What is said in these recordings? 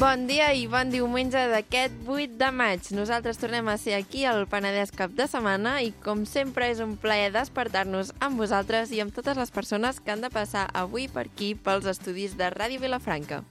Bon dia i bon diumenge d'aquest 8 de maig. Nosaltres tornem a ser aquí al Penedès cap de setmana i com sempre és un plaer despertar-nos amb vosaltres i amb totes les persones que han de passar avui per aquí pels estudis de Ràdio Vilafranca.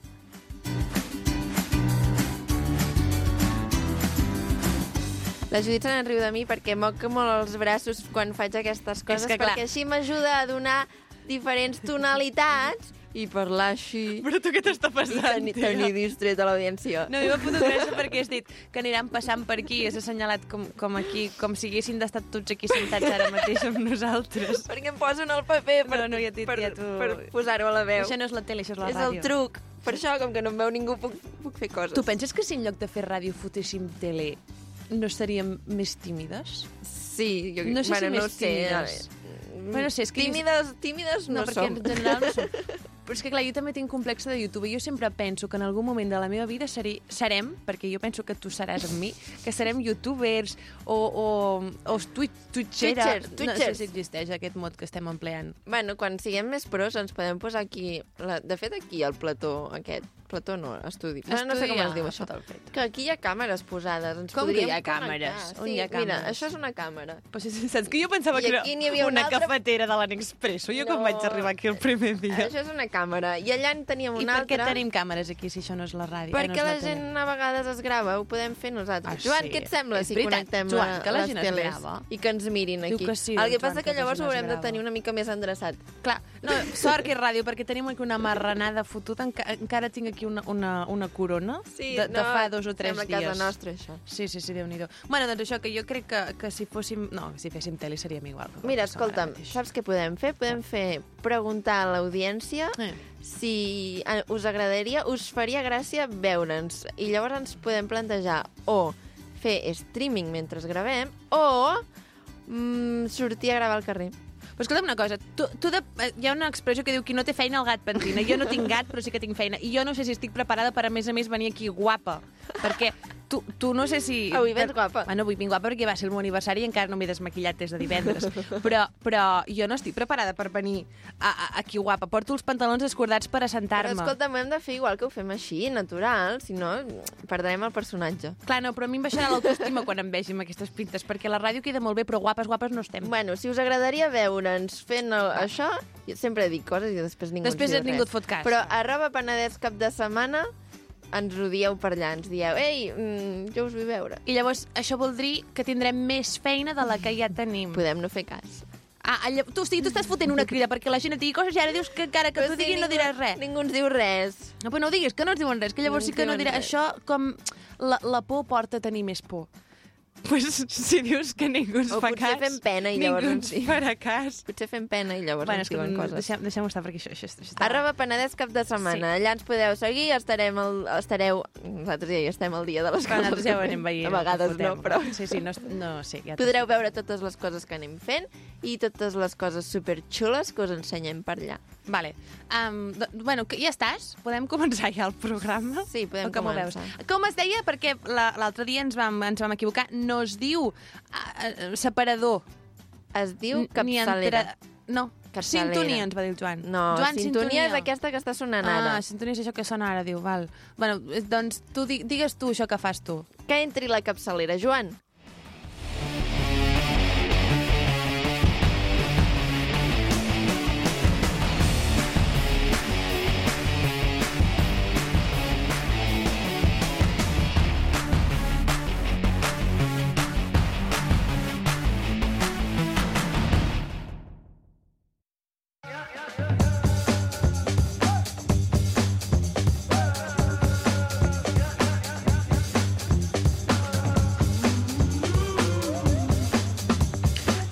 La Judit se n'enriu de mi perquè moca molt els braços quan faig aquestes coses, que, clar. perquè així m'ajuda a donar diferents tonalitats i parlar així Però tu què t'està i passant, tenir, tia? tenir distret a l'audiència. No, jo m'apunto a gràcia perquè has dit que aniran passant per aquí i has assenyalat com, com aquí, com si haguessin d'estar tots aquí sentats ara mateix amb nosaltres. Perquè em posen el paper per, No, no, ja t'he dit, per, ja tu- per posar-ho a la veu. Això no és la tele, això és la és ràdio. el truc. Per això, com que no em veu ningú, puc, puc fer coses. Tu penses que si en lloc de fer ràdio fotéssim tele no estaríem més tímides? Sí, jo No sé si bueno, no més sé, a tímides. veure. Bueno, sí, és que- Tímides, tímides no, perquè som. en general no som. Però és que clar, jo també tinc complexe de YouTube i jo sempre penso que en algun moment de la meva vida seré, serem, perquè jo penso que tu seràs amb mi, que serem youtubers o, o, o tuit, tuitxera. Twitchers, No sé twitchers. si existeix aquest mot que estem empleant. Bueno, quan siguem més pros ens podem posar aquí... La... De fet, aquí, al plató aquest. Plató no, estudi. Bueno, no sé Estudi com es a- diu a això. sota el fet. Que aquí hi ha càmeres posades. Ens Com que podríem hi ha connectar. càmeres? On Sí, hi ha Mira, càmeres? això és una càmera. Però si, si, saps que jo pensava I que era aquí n'hi havia una una altra- cafetera de l'Anexpresso, jo no. No. quan vaig arribar aquí el primer dia. Això és una càmera. I allà en teníem I una per altra. què tenim càmeres aquí si això no és la ràdio? eh, no Perquè és la tele? gent a vegades es grava, ho podem fer nosaltres. Ah, Joan, sí. què et sembla És si veritat, connectem Joan, a que la les gent es teles grava. i que ens mirin Diu aquí? que sí, El que doncs, passa Joan, que que la llavors gent ho es haurem de grava. tenir una mica més endreçat. Clar, no, sort que és ràdio, perquè tenim aquí una marranada fotuda. Enca encara tinc aquí una, una, una corona de, de fa dos o tres sembla dies. casa nostra, això. Sí, sí, sí, déu-n'hi-do. Bueno, doncs això, que jo crec que, que si fóssim... No, si féssim tele seríem igual. que Mira, som ara escolta'm, mateix. saps què podem fer? Podem fer preguntar a l'audiència Eh. si eh, us agradaria, us faria gràcia veure'ns. I llavors ens podem plantejar o fer streaming mentre gravem o mm, sortir a gravar al carrer. Però escolta'm una cosa, tu, tu de, eh, hi ha una expressió que diu qui no té feina el gat pentina. Jo no tinc gat, però sí que tinc feina. I jo no sé si estic preparada per, a més a més, venir aquí guapa. Perquè tu, tu no sé si... Avui vens guapa. Bueno, avui vinc guapa perquè va ser el meu aniversari i encara no m'he desmaquillat des de divendres. Però, però jo no estic preparada per venir a, a, aquí guapa. Porto els pantalons escordats per Però assentar-me. escolta, ho hem de fer igual que ho fem així, natural, si no perdrem el personatge. Clar, no, però a mi em baixarà l'autoestima quan em vegi amb aquestes pintes, perquè la ràdio queda molt bé, però guapes, guapes no estem. Bueno, si us agradaria veure'ns fent el, això, jo sempre dic coses i després ningú Després ens diu ningú res. et fot cas. Però arroba Penedès cap de setmana ens ho dieu per allà, ens dieu ei, mm, jo us vull veure. I llavors això vol dir que tindrem més feina de la que ja tenim. Podem no fer cas. Ah, allà, tu, o sigui, tu estàs fotent una crida perquè la gent et digui coses i ara dius que encara que Però t'ho sí, diguin no ningú- diràs res. Ningú ens diu res. No, però no ho diguis, que no ens diuen res, que llavors No sí que no ens diuen dirà... res. Això com la, la por porta a tenir més por. Pues, si dius que ningú ens O fa potser cas... fem pena i llavors Ningú ens ens diu. farà cas. Potser fem pena i llavors Bueno, ens és que diuen mm, coses. deixem, deixem estar perquè això... això, això està... Arroba Penedès cap de setmana. Allà ens podeu seguir, estarem el, estareu... Nosaltres ja hi estem al dia de les Bueno, coses. nosaltres ja ho que anem fem. veient. A vegades fotem. no, però... Sí, sí, no, no sí, ja... Podreu veure totes les coses que anem fent i totes les coses superxules que us ensenyem per allà. Vale. Um, do, bueno, que- ja estàs? Podem començar ja el programa? Sí, podem O com ho començar. Veus? Com es deia? Perquè la- l'altre dia ens vam, ens vam equivocar. No es diu uh, uh, separador. Es diu N- ni capçalera. Entre... No, Capçalera. sintonia ens va dir el Joan. No, Joan, sintonia és aquesta que està sonant ara. Ah, sintonia és això que sona ara, diu, val. Bueno, eh, doncs tu di digues tu això que fas tu. Que entri la capçalera, Joan.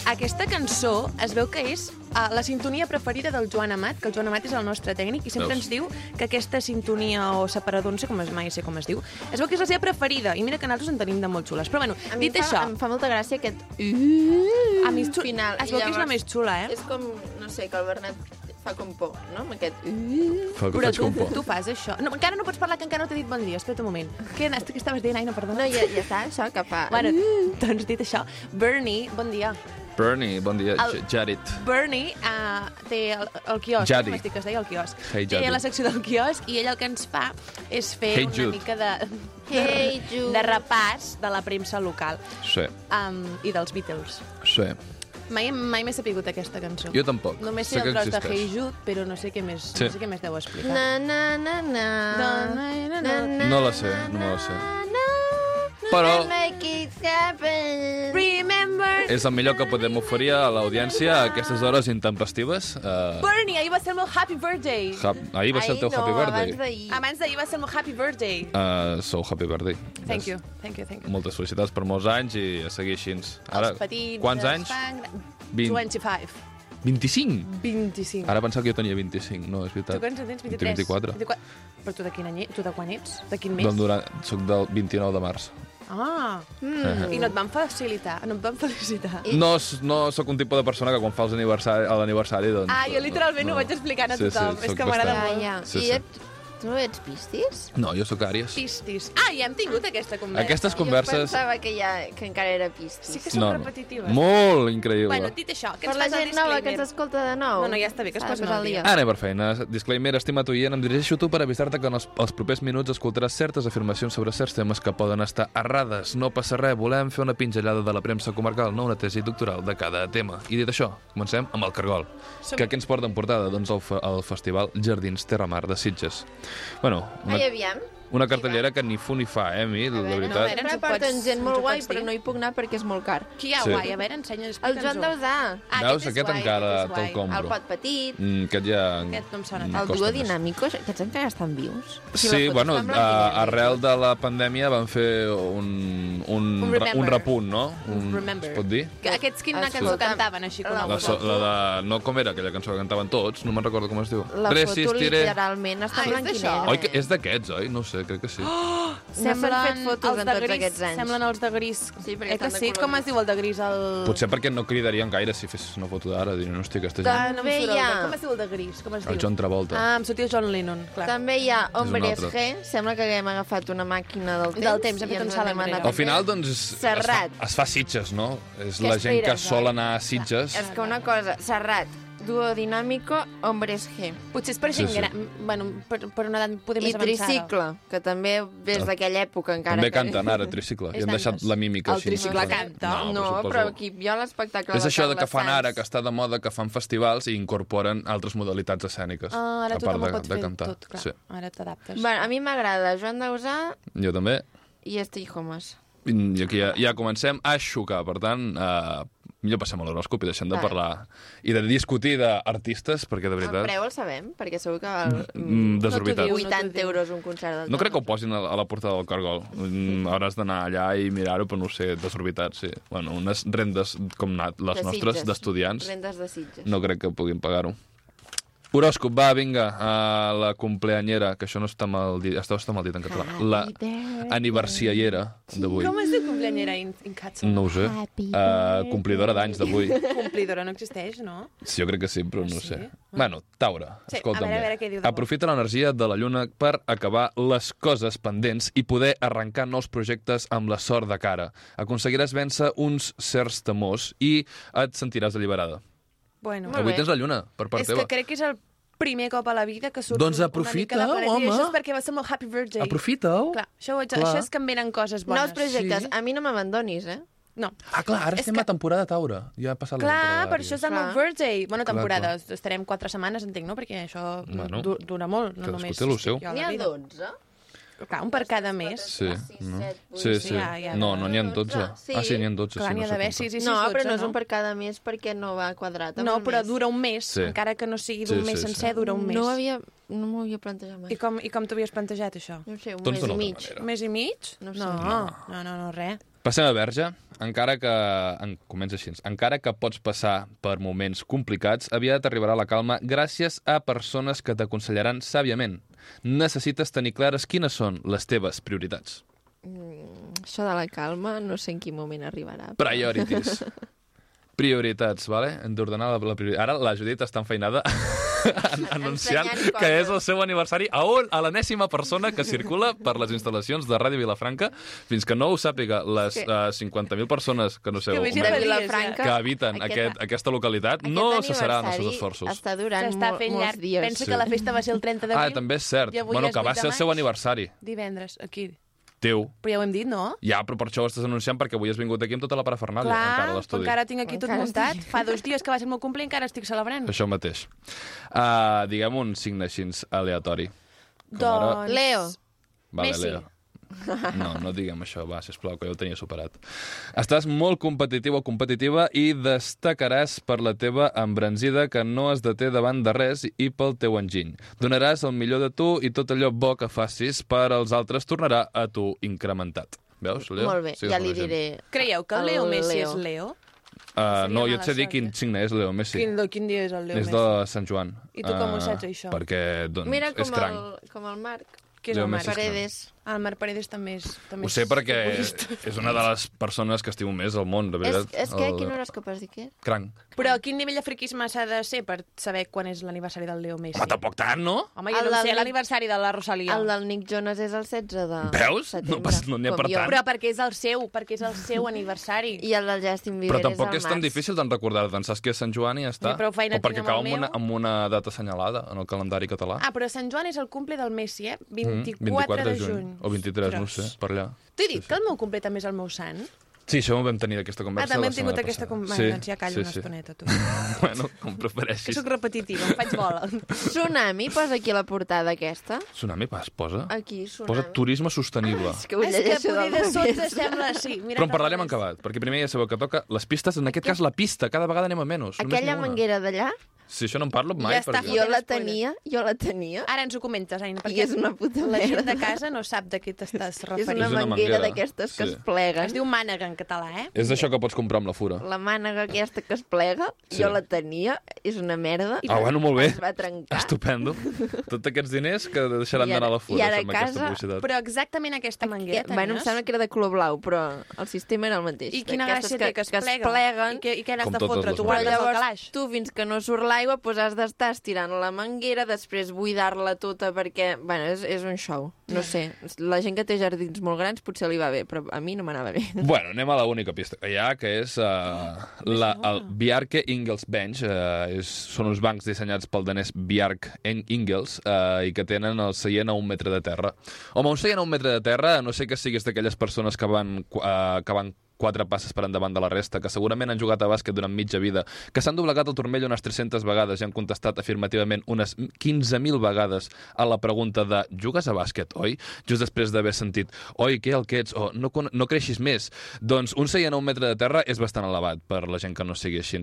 Aquesta cançó es veu que és uh, la sintonia preferida del Joan Amat, que el Joan Amat és el nostre tècnic i sempre Veus? ens diu que aquesta sintonia o separador, no sé com es mai sé com es diu, es veu que és la seva preferida i mira que nosaltres en tenim de molt xules. Però bueno, A mi dit em fa, això, Em fa molta gràcia aquest... a mi és xula, final, Uh. es veu i que és la llavors- més xula, eh? És com, no sé, que el Bernat fa com por, no? Amb aquest... Mm. Fa que Però faig tu, com por. tu fas això. No, encara no pots parlar, que encara no t'he dit bon dia. Espera't un moment. Què, què estaves dient? Ai, no, No, perdona. ja, ja està, això que fa... Bueno, doncs dit això, Bernie, bon dia. Bernie, bon dia. El- El... Jared. Bernie uh, té el, el quiosc, Jadi. com es diu que es deia el quiosc. Hey, Jadi. té la secció del quiosc i ell el que ens fa és fer Hey, una Jude. mica de, de, Hey, Jude. de repàs de la premsa local Sí, um, i dels Beatles. sí. Mai, mai m'he sapigut aquesta cançó. Jo tampoc. Només sé Sé el que tros de existeix. Hey Jude, però no sé què més, Sí. no sé què més deu explicar. Na, na, na, na. Na, na, na, na. No la sé, no me la sé. na, Però- na, make it happen. Remember... És el millor que podem oferir a l'audiència a aquestes hores intempestives. Uh, Bernie, ahir va ser el meu happy birthday. Ah, ha ahir va ser el teu Ahir no, happy Abans birthday. d'ahir. Abans d'ahir va ser el meu happy birthday. Uh, sou happy birthday. Thank Ves. you, thank you, thank you. Moltes felicitats per molts anys i a seguir així. Ara, els petits, quants els anys? fan- Vint. 25. 25? 25. Ara pensava que jo tenia 25, no, és veritat. Tu quants en tens? 23? 24. 24. Però tu de quin any, tu de quan ets? De quin mes? Doncs durant, soc del 29 de març. Ah, Mm. i no et van facilitar, no et van felicitar. No, s- no sóc un tipus de persona que quan fa els aniversari, a l'aniversari, doncs... Ah, jo literalment ho vaig explicant a tothom, és soc que m'agrada Ah, bastant- ja. Sí, I sí. et, tu no ets pistis? No, jo sóc àries. Pistis. Ah, ja hem tingut aquesta conversa. Aquestes Jo converses... pensava que, ja, que encara era pistis. Sí que són repetitives. Molt increïble. Bueno, dit això, que Per ens la fas el gent nova que ens disclaimer. escolta de nou. No, no, ja està bé, que es S'ha de posin posar al dia. Anem per feina. Disclaimer, estimat oient, em dirigeixo a tu per avisar-te que en els, els propers minuts escoltaràs certes afirmacions sobre certs temes que poden estar errades. No passa res, volem fer una pinzellada de la premsa comarcal, no una tesi doctoral de cada tema. I dit això, comencem amb el cargol. Som- Que què ens porta en portada? Doncs el, fe- el festival Jardins Terra Mar de Sitges. Bueno, una, Ai, aviam. una cartellera que ni fu ni fa, eh, a mi, la no, a veritat. veure, ens Ara ho porten pots- gent ens molt ho guai, pots però dir? no hi puc anar perquè és molt car. Qui hi ha Sí. guai? A veure, ensenya'ns, El explica'ns-ho. Joan Daudà, Ah, Veus, aquest és aquest guai, encara aquest és guai. te'l compro. el Pot Petit, Mm, aquest ja... Aquest no em sona em tant. el costa duo més. Dinàmicos, aquests encara estan vius. Si la Sí, foto bueno, està en blanc i a, negre. arrel de la pandèmia van fer un, un, Un un, remember. un repunt, no? Un, remember. es pot dir? Que Aquests quina Escolta, cançó cantaven, així la La, coneguda? so, la de... No, com era aquella cançó que cantaven tots? No me'n recordo com es diu. La foto Resistiré. literalment està Ah, en és blanc i d'això? negre. Oi, que és d'aquests, oi? No ho sé, crec que sí. Oh! No s'han fet fotos els en de tots gris, aquests anys. Semblen els de gris. Sí, perquè eh que estan de sí? color Com gris. es diu el de gris? El... Potser perquè no cridarien gaire si fessis una foto d'ara, dirien, hòstia, aquesta gent... Ah, no em surt el Veia. de- Com es diu el de gris? Com es diu? El John Travolta. Ah, em sortia el John Lennon, clar. També hi ha un Hombres altre. G, sembla que haguem agafat una màquina del temps. Del temps, hem i fet un ens salt n'hem enrere. anat Al final, doncs, es, es, fa, Serrat. es fa Sitges, no? És Què la gent que esperes, sol oi? anar a Sitges. És que una cosa, Serrat, duo dinámico, Hombres G. Potser és per gent Sí, sí. gran... Bueno, per, per una edat poder I més avançada. Tricicle, que també des d'aquella època encara... Ah. També que- canten ara, Tricicle. I És han deixat d'antes. la mímica El així. Tricicle no sé. canta. No, No, però, però suposo- aquí hi ha l'espectacle És això de que Carles fan Sanz. ara, que està de moda, que fan festivals i incorporen altres modalitats escèniques. Ah, ara a part tothom de, ho pot de fer cantar. tot, clar. Sí. Ara t'adaptes. Bueno, a mi m'agrada Joan Dausà Jo també. i Estei Homes. I aquí ja, ja comencem a xocar. Per tant, eh, millor passem a l'horòscop i deixem de Vale. parlar i de discutir d'artistes, perquè de El veritat... preu el sabem, perquè segur que val Mm, mm, desorbitat. diu. 80 No t'ho diu. euros un concert del No crec que ho posin a la, a la porta del cargol. Mm, hauràs d'anar allà i mirar-ho, però no ho sé, desorbitat, sí. Bueno, unes rendes com na- les De nostres Sitges. d'estudiants Rendes de Sitges. no crec que puguin pagar-ho. Horòscop, va, vinga, a la compleanyera, que això no està mal dit, està, està mal dit en català. La aniversiaiera d'avui. Com es diu cumpleanyera in, in català? No ho sé. Uh, complidora d'anys Mm, d'avui. Complidora no existeix, no? Sí, jo crec que sí, però no ho Ah, sí? sé. Bueno, Taure, Sí, escolta'm a veure, a bé. veure què diu de bo. Aprofita l'energia de la lluna per acabar les coses pendents i poder arrencar nous projectes amb la sort de cara. Aconseguiràs vèncer uns certs temors i et sentiràs alliberada. Bueno, Molt Avui bé. tens la lluna, per part és teva. que crec que és el primer cop a la vida que surt Doncs una aprofita, mica de planeta. I home. Això és perquè va ser molt happy birthday. Aprofita-ho. Clar, això, ho haig, Clar. això és que em venen coses bones. Nous projectes. Sí. A mi no m'abandonis, eh? No. Ah, clar, ara És estem que- a temporada Taure. Ja ha passat la Clar, temporada per això és el meu Clar. birthday. Bueno, Clar, temporada. Estarem quatre setmanes, entenc, no? Perquè això Bueno, du- dura molt. No cadascú només té lo estic seu. jo a N'hi la ha vida. 12. Clar, un per cada mes. Sí, no? sí, sí. Ja, ja. No, no n'hi ha 12. Sí. Ah, sí, n'hi ha 12. Clar, sí, n'hi ha no sé d'haver com. 6 i 6, No, però no és no? un per cada mes perquè no va quadrat. amb No, el però mes. dura un mes. Sí. Encara que no sigui Sí, d'un sí, mes sí. sencer, dura un mes. No, ho havia, mm, no m'ho havia plantejat mai. I com, i com t'havies plantejat, això? No ho sé, un Doncs mes d'una i altra mig. manera. Un mes i mig? No ho sé. no, no, no, no res. Passem a Verge. Encara que... En... Comença així. Encara que pots passar per moments complicats, aviat arribarà la calma gràcies a persones que t'aconsellaran sàviament. Necessites tenir clares quines són les teves prioritats. Això de la calma, no sé en quin moment arribarà. Priorities. Prioritats, vale? Hem d'ordenar la, la prioritat. Ara la Judit està enfeinada an- anunciant Ensenyant que coses. és el seu aniversari a on? A l'enèsima persona que circula per les instal·lacions de Ràdio Vilafranca fins que no ho sàpiga les És que- uh, 50.000 persones que no sé, que un- vegin de Feliç, Vilafranca. que habiten Aquest- aquest, aquesta localitat, aquest no cessaran els aniversari seus esforços. Està durant S'està mol, fent molts llarg. dies. Pensa Sí. que la festa va ser el 30 Ah, d'abril. també és cert. I avui Bueno, és que va 8 de ser el seu maig. aniversari. Divendres, aquí. Teu. Però ja ho hem dit, no? Ja, però per això ho estàs anunciant, perquè avui has vingut aquí amb tota la parafernàlia, Clar, encara a l'estudi. encara tinc aquí tot Encara estic- muntat. Fa dos dies que va ser el meu cumple i encara estic Mm. celebrant. Això mateix. Uh, diguem un signe així aleatori. com ara- Doncs... Leo. Vale, Messi. Leo. No, no diguem això, va, sisplau, que jo ho tenia superat. Estàs molt competitiu o competitiva i destacaràs per la teva embranzida que no es deté davant de res i pel teu enginy. Donaràs el millor de tu i tot allò bo que facis per als altres tornarà a tu incrementat. Veus, Leo? Molt bé, Sigues ja un li exemple. diré... Creieu que el El Leo Messi Leo. és Leo? Uh, no, jo Seria et sé mala dir quin eh? sort, signe és Leo Messi. Quin, de, quin dia és el Leo és Messi? de Sant Joan. Eh, I tu com ho saps, això? Perquè, doncs, Mira és com el, cranc. com el Marc. Qui és Leo el Marc? Messi és cranc. Paredes. Ah, el Marc Paredes també és... També Ho sé és perquè futbolista. és una de les persones que estimo més al món, de És, veritat. és que a El- quina hora és que pas dir què? Cranc. Però a quin nivell de friquisme s'ha de ser per saber quan és l'aniversari del Leo Messi? Home, tampoc tant, no? Home, jo El no em del sé Nick- l'aniversari de la Rosalia. El del Nick Jonas és el 16 de Veus? No setembre. pas- no n'hi ha com per jo. tant. Però perquè és el seu, perquè és el seu aniversari. I el del Justin Bieber Però tampoc és, és tan difícil d'en recordar. Doncs saps que és Sant Joan i ja està. Ja, però feina o perquè tinc amb cau el amb una, meu. amb una data assenyalada en el calendari català. Ah, però Sant Joan és el cumple del Messi, eh? 24, Mm, 24 de juny. O 23, no ho sé, per allà. T'he dit que el meu cumple també és el meu sant? Sí, això ho vam tenir, aquesta Ah, conversa. també la hem tingut setmana aquesta... Com... passada. Sí, doncs ja callo sí, una sí. estoneta, tu. bueno, com Que prefereixis. sóc repetitiva, em faig bola. Tsunami, posa aquí la portada aquesta. Tsunami pas, posa. Aquí, tsunami. Posa turisme sostenible. És que ho llegeixo del de sota revés. sembla... Sí, mira, Però en parlarem en acabat, perquè primer ja sabeu que toca les pistes, en aquest cas la pista, cada vegada anem a menys. només n'hi Aquella ha una. manguera d'allà, Si això no en parlo mai, Ja està, perquè... jo fotent la spoiler. tenia, jo la tenia, Ara ens ho comentes, Aina, i perquè és una puta la gent de merda. casa no sap de què t'estàs És referint. una És una manguera manguera, d'aquestes que sí. es pleguen. Es diu mànega en català, eh? És d'això que pots comprar amb la fura. La mànega aquesta que es plega, Sí. jo la tenia, és una merda. Ah, bueno, molt bé. Es va trencar. Estupendo. Tots aquests diners que deixaran I ara- d'anar a la fura i ara amb a aquesta casa, publicitat. Però exactament aquesta Que, manguera tenies? bueno, em sembla que era de color blau, però el sistema era el mateix. I quina D'aquestes gràcia té que es que plega? es pleguen I què, i què n'has Com de totes fotre? les Tu Però guardes el llavors calaix? tu, fins que no surt l'aigua, doncs has d'estar estirant la manguera, després buidar-la tota perquè... Bueno, és, és un show. No sé, la gent que té jardins molt grans potser li va bé, però a mi no m'anava bé. Bueno, anem a la única pista que hi ha, que és uh, la, el Bjarke Ingels Bench. Uh, és, són uns bancs dissenyats pel danès Bjark en Ingels uh, i que tenen el seient a un metre de terra. Home, un seient a un metre de terra, a no sé que siguis d'aquelles persones que van, uh, que van quatre passes per endavant de la resta, que segurament han jugat a bàsquet durant mitja vida, que s'han doblegat el turmell unes 300 vegades i han contestat afirmativament unes 15.000 vegades a la pregunta de «Jugues a bàsquet, oi?», just després d'haver sentit «Oi, què, el que ets?», o «No, con- no creixis més». Doncs un seient a un metre de terra és bastant elevat per la gent que no sigui així.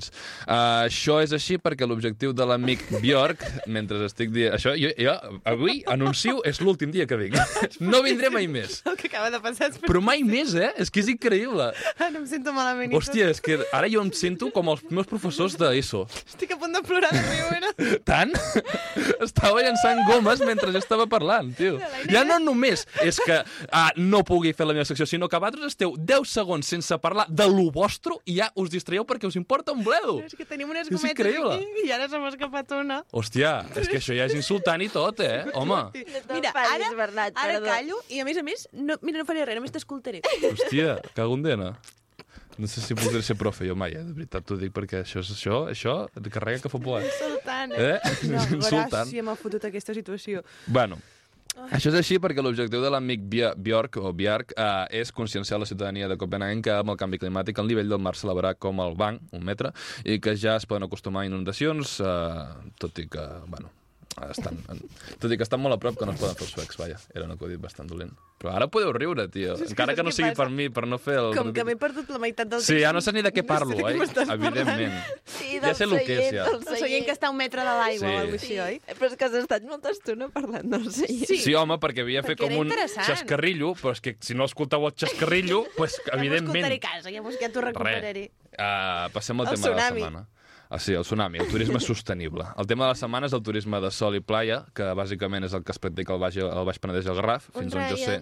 Uh, això és així perquè l'objectiu de l'amic Bjork, mentre estic dient... Això, jo, jo avui anuncio, és l'últim dia que vinc. No vindré mai més. El que acaba de passar és... Però mai més, eh? És que és increïble. Ara em sento malament. i tot. Hòstia, és que ara jo em sento com els meus professors d'ESO. Estic a punt de plorar de riure. Tant? Estava llançant gomes mentre jo estava parlant, tio. Ja no només és que ah, no pugui fer la meva secció, sinó que vosaltres esteu 10 segons sense parlar de lo vostre i ja us distraieu perquè us importa un bledo. És que tenim unes És gometes increïble. aquí i ara se m'ha escapat una. Hòstia, és que això ja és insultant i tot, eh, home. Mira, facis, ara, Bernat, ara perdó. callo i, a més a més, no, mira, no faré res, només t'escoltaré. Hòstia, cago en dena. No sé si voldré ser profe, jo mai, eh? de veritat t'ho dic, perquè això és això, això, carrega que fa por, eh? Insultant, Eh? No, És insultant. veuràs si m'ha fotut aquesta situació. Bueno, Ah. això és així perquè l'objectiu de l'amic Bia- Bjork o Bjark eh, és conscienciar la ciutadania de Copenhagen que amb el canvi climàtic el nivell del mar s'elevarà com el banc, un metre, i que ja es poden acostumar a inundacions, eh, tot i que, bueno, estan, en, tot i que estan molt a prop que no es poden fer els suecs, vaja, era un acudit bastant dolent. Però ara podeu riure, tio, és que encara saps que no què sigui passa? per mi, per no fer el... Com que m'he perdut la meitat del Sí, ja no sé ni de què parlo, de què oi? m'estàs parlant. Evidentment. Sí, Ja sé lo que és, ja. del El seient que està a un metre de Sí. l'aigua o alguna cosa així, oi? Però és que has estat molta estona parlant del seient. Sí, home, perquè havia fet Perquè com era un interessant. xascarrillo, però és que si no escolteu el xascarrillo, pues, Ja evidentment, m'escoltaré a casa, ja, mos- ja t'ho recuperaré. Uh, passem al El tema de la tsunami. setmana. Ah, sí, el tsunami, el turisme sostenible. El tema de la setmana és el turisme de sol i playa, que bàsicament és el que es practica al Baix, al Baix Penedès i al Garraf, fins on jo sé.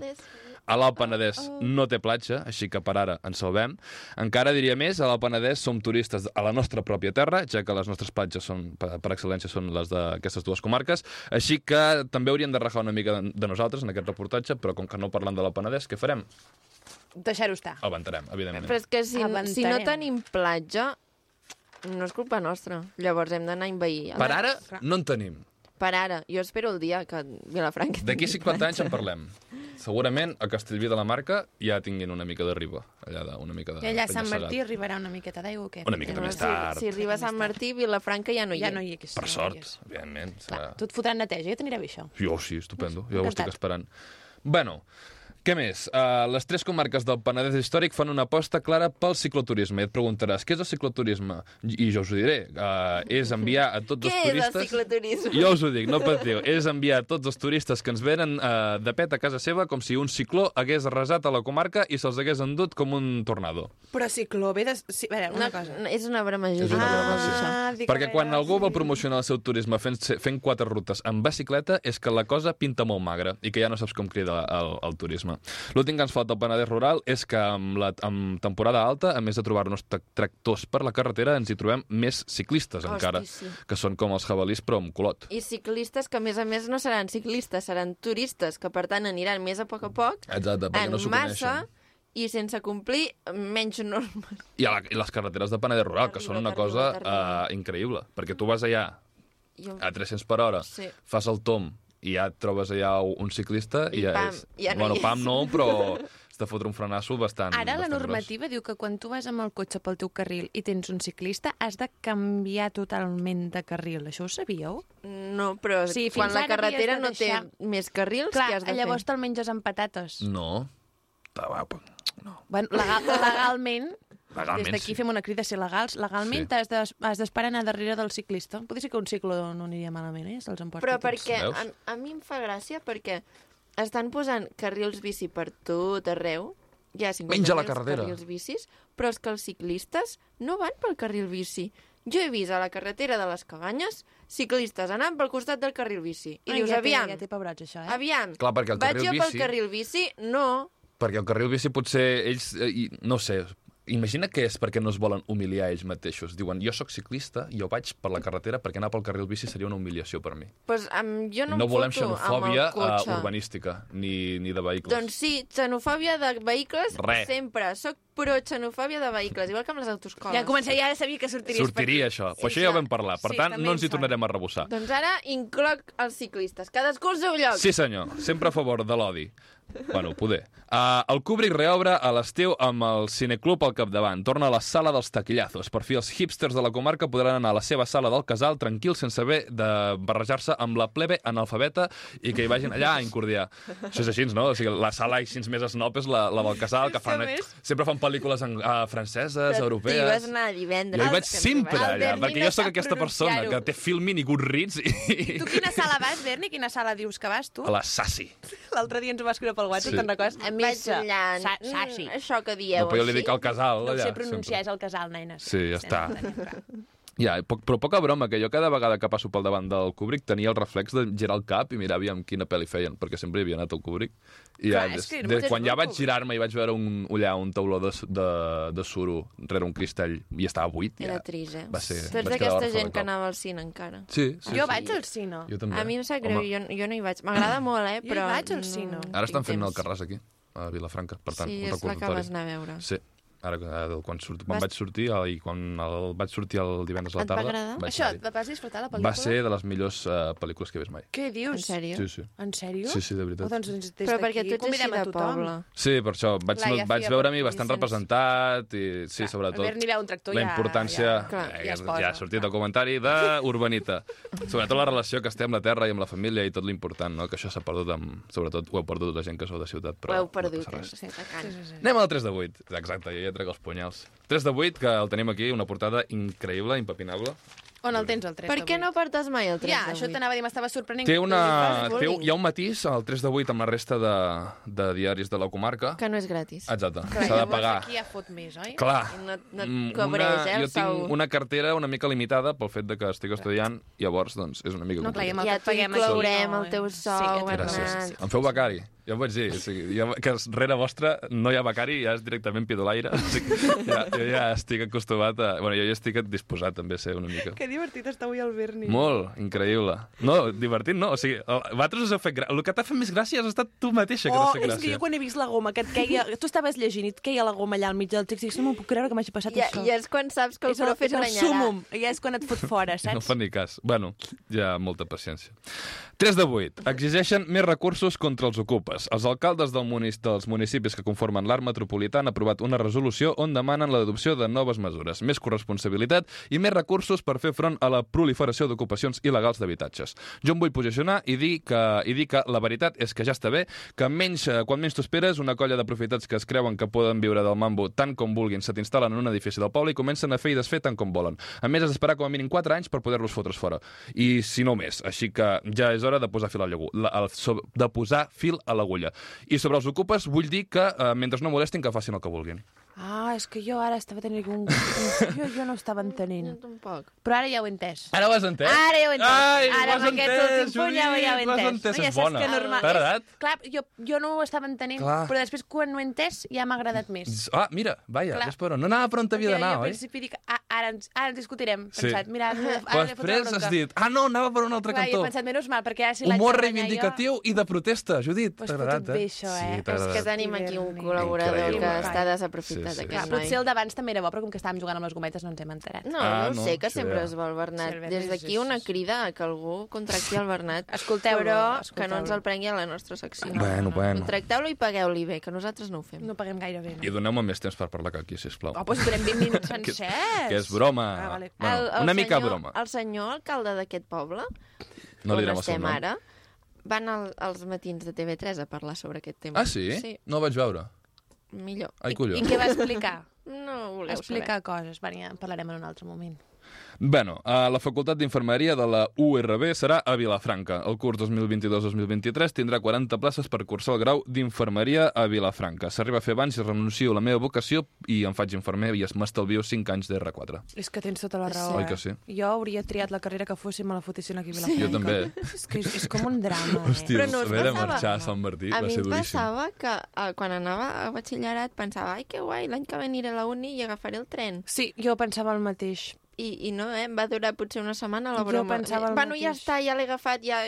A l'Alt Penedès Oh, no té platja, així que per ara ens salvem. Encara diria més, a l'Alt Penedès som turistes a la nostra pròpia terra, ja que les nostres platges són, per, per excel·lència són les d'aquestes dues comarques, així que també hauríem de rajar una mica de, de nosaltres en aquest reportatge, però com que no parlem de l'Alt Penedès, què farem? Deixar-ho estar. Avantarem, evidentment. Però és que si, Avantarem. si no tenim platja, no és culpa nostra. Llavors hem d'anar a envair. Per ara no en tenim. Per ara. Jo espero el dia que Vilafranca... D'aquí tingui 50 anys platja. en parlem. Segurament a Castellví de la Marca ja tinguin una mica de riba. Allà de, una mica de I allà a Sant penya-segat. Martí arribarà una miqueta d'aigua o què? Una miqueta més Si- tard. Si arriba a Sant Martí, Vilafranca ja no hi Ja ha. no hi és. Per no hi sort, és. evidentment. Serà... Tu et fotran neteja, ja t'anirà bé això. Jo sí, estupendo. Jo ho Encantat. estic esperant. Bueno, què més? Uh, les tres comarques del Penedès històric fan una aposta clara pel cicloturisme. I et preguntaràs, què és el cicloturisme? I jo us ho diré. Uh, és enviar a tots Què els és el turistes... cicloturisme? Jo us ho dic, no patiu. És enviar a tots els turistes que ens venen eh, de pet a casa seva com si un cicló hagués arrasat a la comarca i se'ls hagués endut com un tornado. Però cicló ve de... Sí, a veure, una cosa. No, és una broma És una broma, sí. Ah, dic, a Perquè veure, quan algú sí. vol promocionar el seu turisme fent, fent quatre rutes en bicicleta és que la cosa pinta molt magra i que ja no saps com crida el, el turisme. L'últim que ens falta al Penedès rural és que amb la amb temporada alta, a més de trobar-nos tra- tractors per la carretera, ens hi trobem més ciclistes Hosti, encara, sí. que són com els jabalís però amb culot. I ciclistes que, a més a més, no seran ciclistes, seran turistes, que, per tant, aniran més a poc a poc, Exacte, perquè en no s'ho massa, coneixen. i sense complir menys normes. I, a la, I les carreteres de Penedès rural, que Terrible, són una terrible, cosa terrible. eh, increïble, perquè tu vas allà Jo... a 300 per hora, Sí. fas el tom i ja et trobes allà un ciclista i, I ja pam, és... ja no bueno, hi és. pam no, però has de fotre un frenasso bastant Ara la bastant normativa diu que quan tu vas amb el cotxe pel teu carril i tens un ciclista, has de canviar totalment de carril. Això ho sabíeu? No, però Sí, sí, fins quan ara la havies carretera de no té deixar- més carrils, Clar, què has de llavors fer? te'l menges amb patates. gros. No. Ta, va, pa. Bueno, legal, legalment, Legalment, des sí. d'aquí fem una crida a ser legals, legalment Sí. sí. t'has d'es- has d'esperar anar darrere del ciclista. Podria ser que un ciclo no aniria malament, eh? Se'ls emporti Però tots. perquè veus? a, a mi em fa gràcia perquè estan posant carrils bici per tot arreu, hi ha 50 Menja la carretera. carrils bicis, però és que els ciclistes no van pel carril bici. Jo he vist a la carretera de les Cabanyes ciclistes anant pel costat del carril bici. I Ai, dius, ja té- aviam, Ja té pebrots, això, eh? aviam, Clar, perquè el vaig carril jo bici- pel carril bici? No. Perquè el carril bici potser ells... Eh, i, no sé, imagina que és perquè no es volen humiliar ells mateixos. Diuen, jo sóc ciclista, jo vaig per la carretera perquè anar pel carril bici seria una humiliació per mi. Pues, um, jo no, no em volem foto amb el xenofòbia eh, cotxe. urbanística ni, ni de vehicles. Doncs sí, xenofòbia de vehicles Re. sempre. Soc pro xenofòbia de vehicles, igual que amb les autoscoles. Ja començaria, ja sabia que sortiries Sortiria això. Però això ja ho vam parlar. Per Sí, tant, també no ens hi em sona. tornarem a rebussar. Doncs ara incloc els ciclistes. Cadascú al seu Doncs lloc. Sí, senyor. Sempre a favor de l'odi. Bueno, poder. Uh, el Kubrick reobre a l'estiu amb el Cineclub al capdavant. Torna a la sala dels taquillazos. Per fi els hipsters de la comarca podran anar a la seva sala del casal tranquils sense haver de barrejar-se amb la plebe analfabeta i que hi vagin allà a incordiar. Això és així, no? O sigui, la sala així més esnop és la, la del casal, que fan, sempre fan pel·lícules en, uh, franceses, T'hi vas europees... anar divendres. Jo hi vaig que ens sempre vas. allà, Berlín perquè jo es sóc va aquesta persona que pronunciar-ho. té Filmin i Goodreads i... Tu quina sala vas, Berni? Quina sala dius que vas, tu? A la Sassi. L'altre dia ens ho vas escriure pel WhatsApp, Sí. sí. te'n recordes? Em vaig allà. Sa- mm, saci. Això que dieu No, però jo li així. dic al casal. No ho allà, sé pronunciar, sempre. és el casal, nenes. Sí, ja està. està. Ja, poc, però poca broma, que jo cada vegada que passo pel davant del Kubrick tenia el reflex de girar el cap i mirar aviam quina pel·li feien, perquè sempre hi havia anat al Kubrick. I ja, Clar, és des, que era des, molt quan ja vaig Kubrick. girar-me i vaig veure un, allà un tauló de, de, de suro rere un cristall i estava buit, ja. Era trist, eh? Va ser- vaig Tu ets quedar d'aquesta orfe de gent que cop. anava al cine encara. Sí, sí, Jo sí. vaig al cine. Jo també. A mi em sap greu, Home, Mm. jo, jo no hi vaig. M'agrada molt, eh? Jo hi Però vaig al no- cine. Ara Ara estan tinc fent el temps. Carràs aquí, a Vilafranca, per tant, sí, un és la que vas recordatori. anar a veure. Sí, ara eh, quan, surt, quan Vas- vaig sortir eh, i quan el, vaig sortir el divendres a Et la va tarda... agradar? vaig Això, anar-hi. et vas disfrutar la pel·lícula? Va ser de les millors uh, pel·lícules que he vist mai. Què En dius? sèrio? Sí, sí. En sèrio? Sí, sí, de veritat. Oh, doncs, des d'aquí Però perquè tu ets així convidem a de tothom. poble. Sí, per això. Vaig, Laia vaig Fia, veure a mi per bastant Vicenç. representat i sí, sobretot... Berni veu un tractor, la ja- importància... ja- clar, eh, ja que es posa, ja ha sortit el comentari d'Urbanita. sobretot la relació que estem amb la terra i amb la família i tot l'important, no? que això s'ha perdut amb... Sobretot ho ha perdut la gent que sou de ciutat, Ho però heu no perdut, passa eh? res. Sí, tacant. Anem al 3 de 8. Exacte, jo ja trec els punyals. 3 de 8, que el tenim aquí, una portada increïble, impepinable. On el tens, el 3 Per què no portes mai el 3 Ja, de això vuit? t'anava a dir, m'estava sorprenent. Té que tu una... dius, Té, un- hi ha un matís al 3 de 8 amb la resta de, de diaris de la comarca. Que no és gratis. Exacte, "Clar, s'ha de llavors pagar. Aquí ja fot més, oi? Clar. No- no et Mm, cobreix, eh, el Jo tinc sou. una cartera una mica limitada pel fet de que estic estudiant, llavors, doncs, és una mica No, clar, complicat. i amb el Ja que et paguem t'inclourem aquí, no, el teu eh? sou, que et Bernat. Gràcies. Bernat. Em feu becari? Jo vaig dir, o sigui, jo, que es- rere vostra no hi ha becari, ja és directament pidolaire. O sigui, ja, jo ja estic acostumat a... Bueno, jo ja estic disposat també a ser una mica. Que divertit està avui el Berni. Molt, increïble. No, divertit no, o sigui, el, vosaltres us heu fet... Gra... El que t'ha fet més gràcia has estat tu mateixa que Oh, t'has fet és que gràcia. jo quan he vist la goma que et queia... Tu estaves llegint i et queia la goma allà al mig del text i dic, no m'ho puc creure que m'hagi passat I, això. I és quan saps que el és el, profe és el s'aranyarà. súmum. Ja és quan et fot fora, No saps? fa ni cas. Bueno, ja molta paciència. 3 de 8. Exigeixen més recursos contra els ocupes. Els alcaldes del munis, dels municipis que conformen l'art metropolità han aprovat una resolució on demanen l'adopció de noves mesures, més corresponsabilitat i més recursos per fer front a la proliferació d'ocupacions il·legals d'habitatges. Jo em vull posicionar i dir que, i dir que la veritat és que ja està bé, que menys, eh, quan menys t'ho esperes, una colla de profitats que es creuen que poden viure del mambo tant com vulguin, se t'instal·len en un edifici del poble i comencen a fer i desfer tant com volen. A més, has d'esperar com a mínim 4 anys per poder-los fotre's fora. I si no més. Així que ja és hora de posar fil a l'agu- la- al- so- de posar fil a l'agulla. I sobre els ocupes, vull dir que, eh, mentre no molestin, que facin el que vulguin. Ah, és que jo ara estava tenint un... un- Jo, jo no estava entenent. Jo tampoc. Però ara ja ho he entès. Ara ho has entès? Ara ja ho he entès. Ai, Ara ho has amb aquest entès, últim punt ja ho- ja ho he Judit, ho has entès. entès, No, ja és saps bona. que normal T'ha és- agradat? Clar, jo, jo no ho estava entenent, Clar. però després quan ho he entès ja m'ha agradat més. Ah, mira, vaja, Clar. ja és per on- no anava per on t'havia Perquè d'anar, jo al oi? principi dic, "Ah, ara ens, ara ens discutirem. Sí. Pensat, mira, ara, ara Però li fotré la després has bronca. dit, ah, no, anava per un altre Clar, i cantó. he pensat, menys mal, perquè ara si l'haig de Humor guanyar reivindicatiu i de protesta, Judit. Pues T'ha agradat, fotut bé, això, eh? Sí, És t'ha És que agradat. tenim aquí un Increïble. col·laborador que Increïble. està Sí, sí, desaprofitat, Jo... Clar, aquest potser noi. el d'abans també era bo, però com que estàvem jugant amb els gometes no ens hem enterat. No, Ah, no, no, ho sé, que sí, sempre ja. es va el Bernat. Sí, el Bernat, Des sí, d'aquí sí, una sí. crida a que algú contracti el Bernat. Escolteu-lo, Però que escolteu-lo. no ens el prengui a la nostra secció. Bueno, bueno. Contracteu-lo i pagueu-li bé, que nosaltres no ho fem. No paguem gaire bé, no? I doneu-me més temps per parlar que aquí, sisplau. Oh, doncs durem 20 minuts sencers. Que és broma. Ah, vale. bueno, una mica senyor, broma. El senyor alcalde d'aquest poble, No li on direm el seu estem nom. ara, van al, als matins de TV3 a parlar sobre aquest tema. Ah, sí? Sí, No ho vaig veure. millor. Ai, collons. I què va explicar? No ho voleu Explicar coses. Va, ja en parlarem en un altre moment. Bueno, a la Facultat d'Infermeria de la URB serà a Vilafranca. El curs 2022-2023 tindrà 40 places per cursar el grau d'Infermeria a Vilafranca. S'arriba a fer abans i renuncio a la meva vocació i em faig infermer i es m'estalvio 5 anys d'R4. És que tens tota la raó. Oi eh? que sí? Jo hauria triat la carrera que fos si me la fotessin aquí a Vilafranca. Jo també. És que és, és com un drama, eh? Hòstia, Però no us haver de passava? marxar a Sant Martí A va mi ser em duríssim. passava que eh, quan anava a batxillerat pensava, ai, que guai, l'any que veniré a la uni i agafaré el tren. Sí, jo pensava el mateix. I, i no, eh? em va durar potser una setmana la Jo broma. pensava el bueno, ja mateix. està, ja l'he agafat, ja...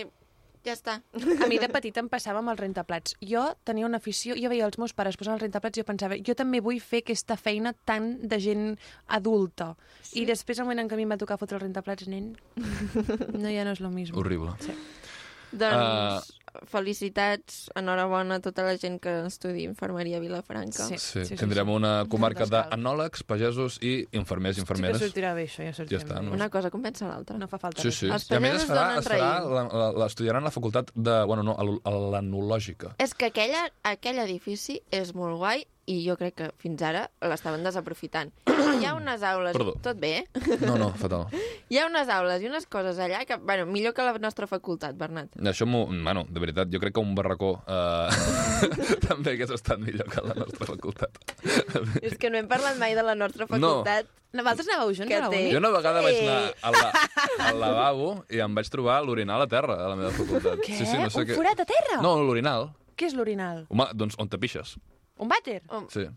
Ja està. A mi de petita em passava amb els rentaplats. Jo tenia una afició, jo veia els meus pares posant els rentaplats i jo pensava, jo també vull fer aquesta feina tan de gent adulta. Sí. I després, al moment en què a mi em va tocar fotre els rentaplats, nen, no ja no és lo mismo. Horrible. Ah. Doncs felicitats, enhorabona a tota la gent que estudia infermeria a Vilafranca. Sí. Sí, tindrem una comarca d'anòlegs, pagesos i infermers i Que infermeres. sortirà bé això, ja Ja sortirà està, bé. no? Una cosa compensa l'altra. No fa falta Sí, res. sí. Els I a més es pagesos farà, donen es farà raïl. la, la, l'estudiaran a la facultat de... Bueno, no, a l- a l'anològica. És que aquella, aquell edifici és molt guai i jo crec que fins ara l'estaven desaprofitant. Hi ha unes aules... Perdó. Tot bé, eh? No, no, fatal. Hi ha unes aules i unes coses allà que, bueno, millor que la nostra facultat, Bernat. Això, m'ho- bueno, de veritat, jo crec que un barracó eh, també hagués estat millor que la nostra facultat. És que no hem parlat mai de la nostra facultat. facultat. Vosaltres anàveu junts Que a la té. Eh, uni? Jo una vegada vaig Sí. anar al, la, al lavabo i em vaig trobar l'orinal a terra, a la meva facultat. Què? un forat a terra? No, l'orinal. Què és l'orinal? Home, doncs on te pixes. Un vàter? Sí.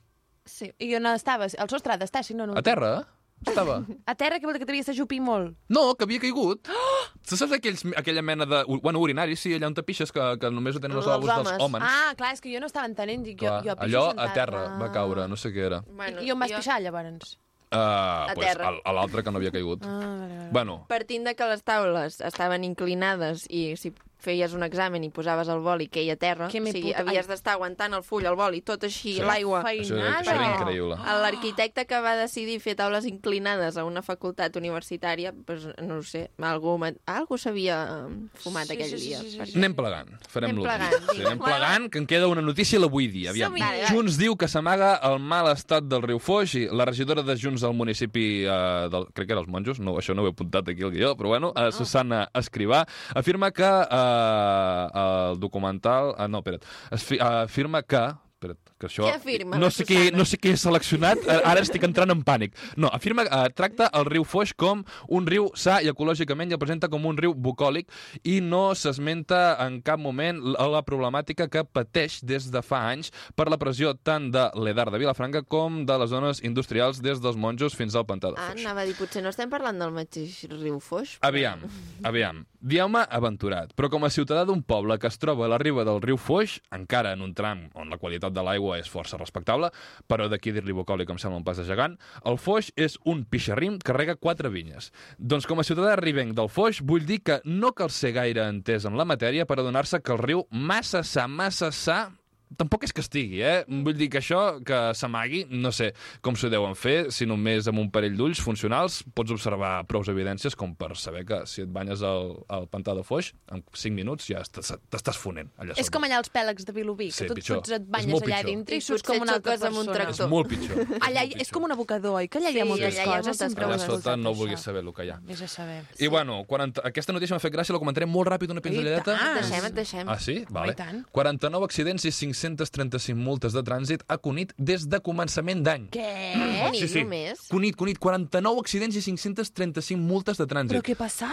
Sí. Oh, I on estaves? Al sostre ha d'estar, si no, no. A terra, eh? estava. A terra, que vol dir que t'havies de jupir molt. No, que havia caigut. Tu saps aquells, aquella mena de... Bueno, urinari, sí, allà on te pixes, que, que només ho tenen els Els lavabos dels homes. hòmens. Ah, clar, és que jo no estava entenent. Dic, jo, Clar, jo pixo allò a sentada. terra va caure, no sé què era. Bueno, I on vas pixar, llavors? Uh, A pues, terra. A, a l'altre que no havia caigut. Ah, vale, Bueno, Partint de que les taules estaven inclinades i si feies un examen i posaves el boli queia a terra, Que o me sigui, puta- havies d'estar aguantant el full, el boli, tot així, Sí. l'aigua. això, era- això era increïble. A L'arquitecte que va decidir fer taules inclinades a una facultat universitària, pues, no ho sé, algú, ma- algú s'havia eh, fumat Sí, aquell sí, sí, dia. sí, sí, perquè- Anem plegant, farem Anem l'últim. plegant, sí, vinga. eh? anem plegant, que en queda una notícia l'avui dia. Aviam. Som-hi. Vale, vale. Junts diu que s'amaga el mal estat del riu Foix i la regidora de Junts al municipi eh, del, crec que era els Monjos, no, això no ho he apuntat aquí al guió, però bueno, Ah. eh, Susana Escrivà afirma que eh, el documental... Ah, no, espera't. Es fi, afirma que... Espera't, que això... Què afirma no la sé, qui, Susana? no sé qui he seleccionat, eh, ara estic entrant en pànic. No, afirma que eh, tracta el riu Foix com un riu sa i ecològicament i el presenta com un riu bucòlic i no s'esmenta en cap moment la, la problemàtica que pateix des de fa anys per la pressió tant de l'Edar de Vilafranca com de les zones industrials des dels monjos fins al pantà de Ah, Foix. anava a dir, potser no estem parlant del mateix riu Foix. Aviam, aviam. Dieu-me aventurat, però com a ciutadà d'un poble que es troba a la riba del riu Foix, encara en un tram on la qualitat de l'aigua és força respectable, però d'aquí dir-li bocòlic em sembla un pas de gegant, el Foix és un pixarrim que rega quatre vinyes. Doncs com a ciutadà ribenc del Foix, vull dir que no cal ser gaire entès en la matèria per adonar-se que el riu massa sa, massa sa, Tampoc és que estigui, eh? Vull dir que això, que s'amagui, no sé com s'ho deuen fer, si només amb un parell d'ulls funcionals pots observar prous evidències com per saber que si et banyes al, al pantà de Foix, en 5 minuts ja estàs- t'estàs fonent allà És com allà els pèlegs de Vilobí, Sí, que tu, pitjor. tu et És banyes molt allà pitjor. I dintre i surts potser com una altra xoques amb un persona. tractor. És molt pitjor. Allà hi- és com un abocador, oi? Que allà hi ha Sí, moltes allà hi ha coses. moltes sempre ho coses. Allà he sota escoltat, no això. vulguis saber el que hi ha. Vés a saber. I bueno, 40... aquesta notícia m'ha fet gràcia, la comentaré molt ràpid una pinzelladeta. Et deixem, et Ah, deixem. sí? Vale. i tant. 49 accidents i 535 multes de trànsit a Cunit des de començament d'any. Què? Ni Sí, sí. només. Cunit, Cunit, 49 accidents i 535 multes de trànsit. Però què passa?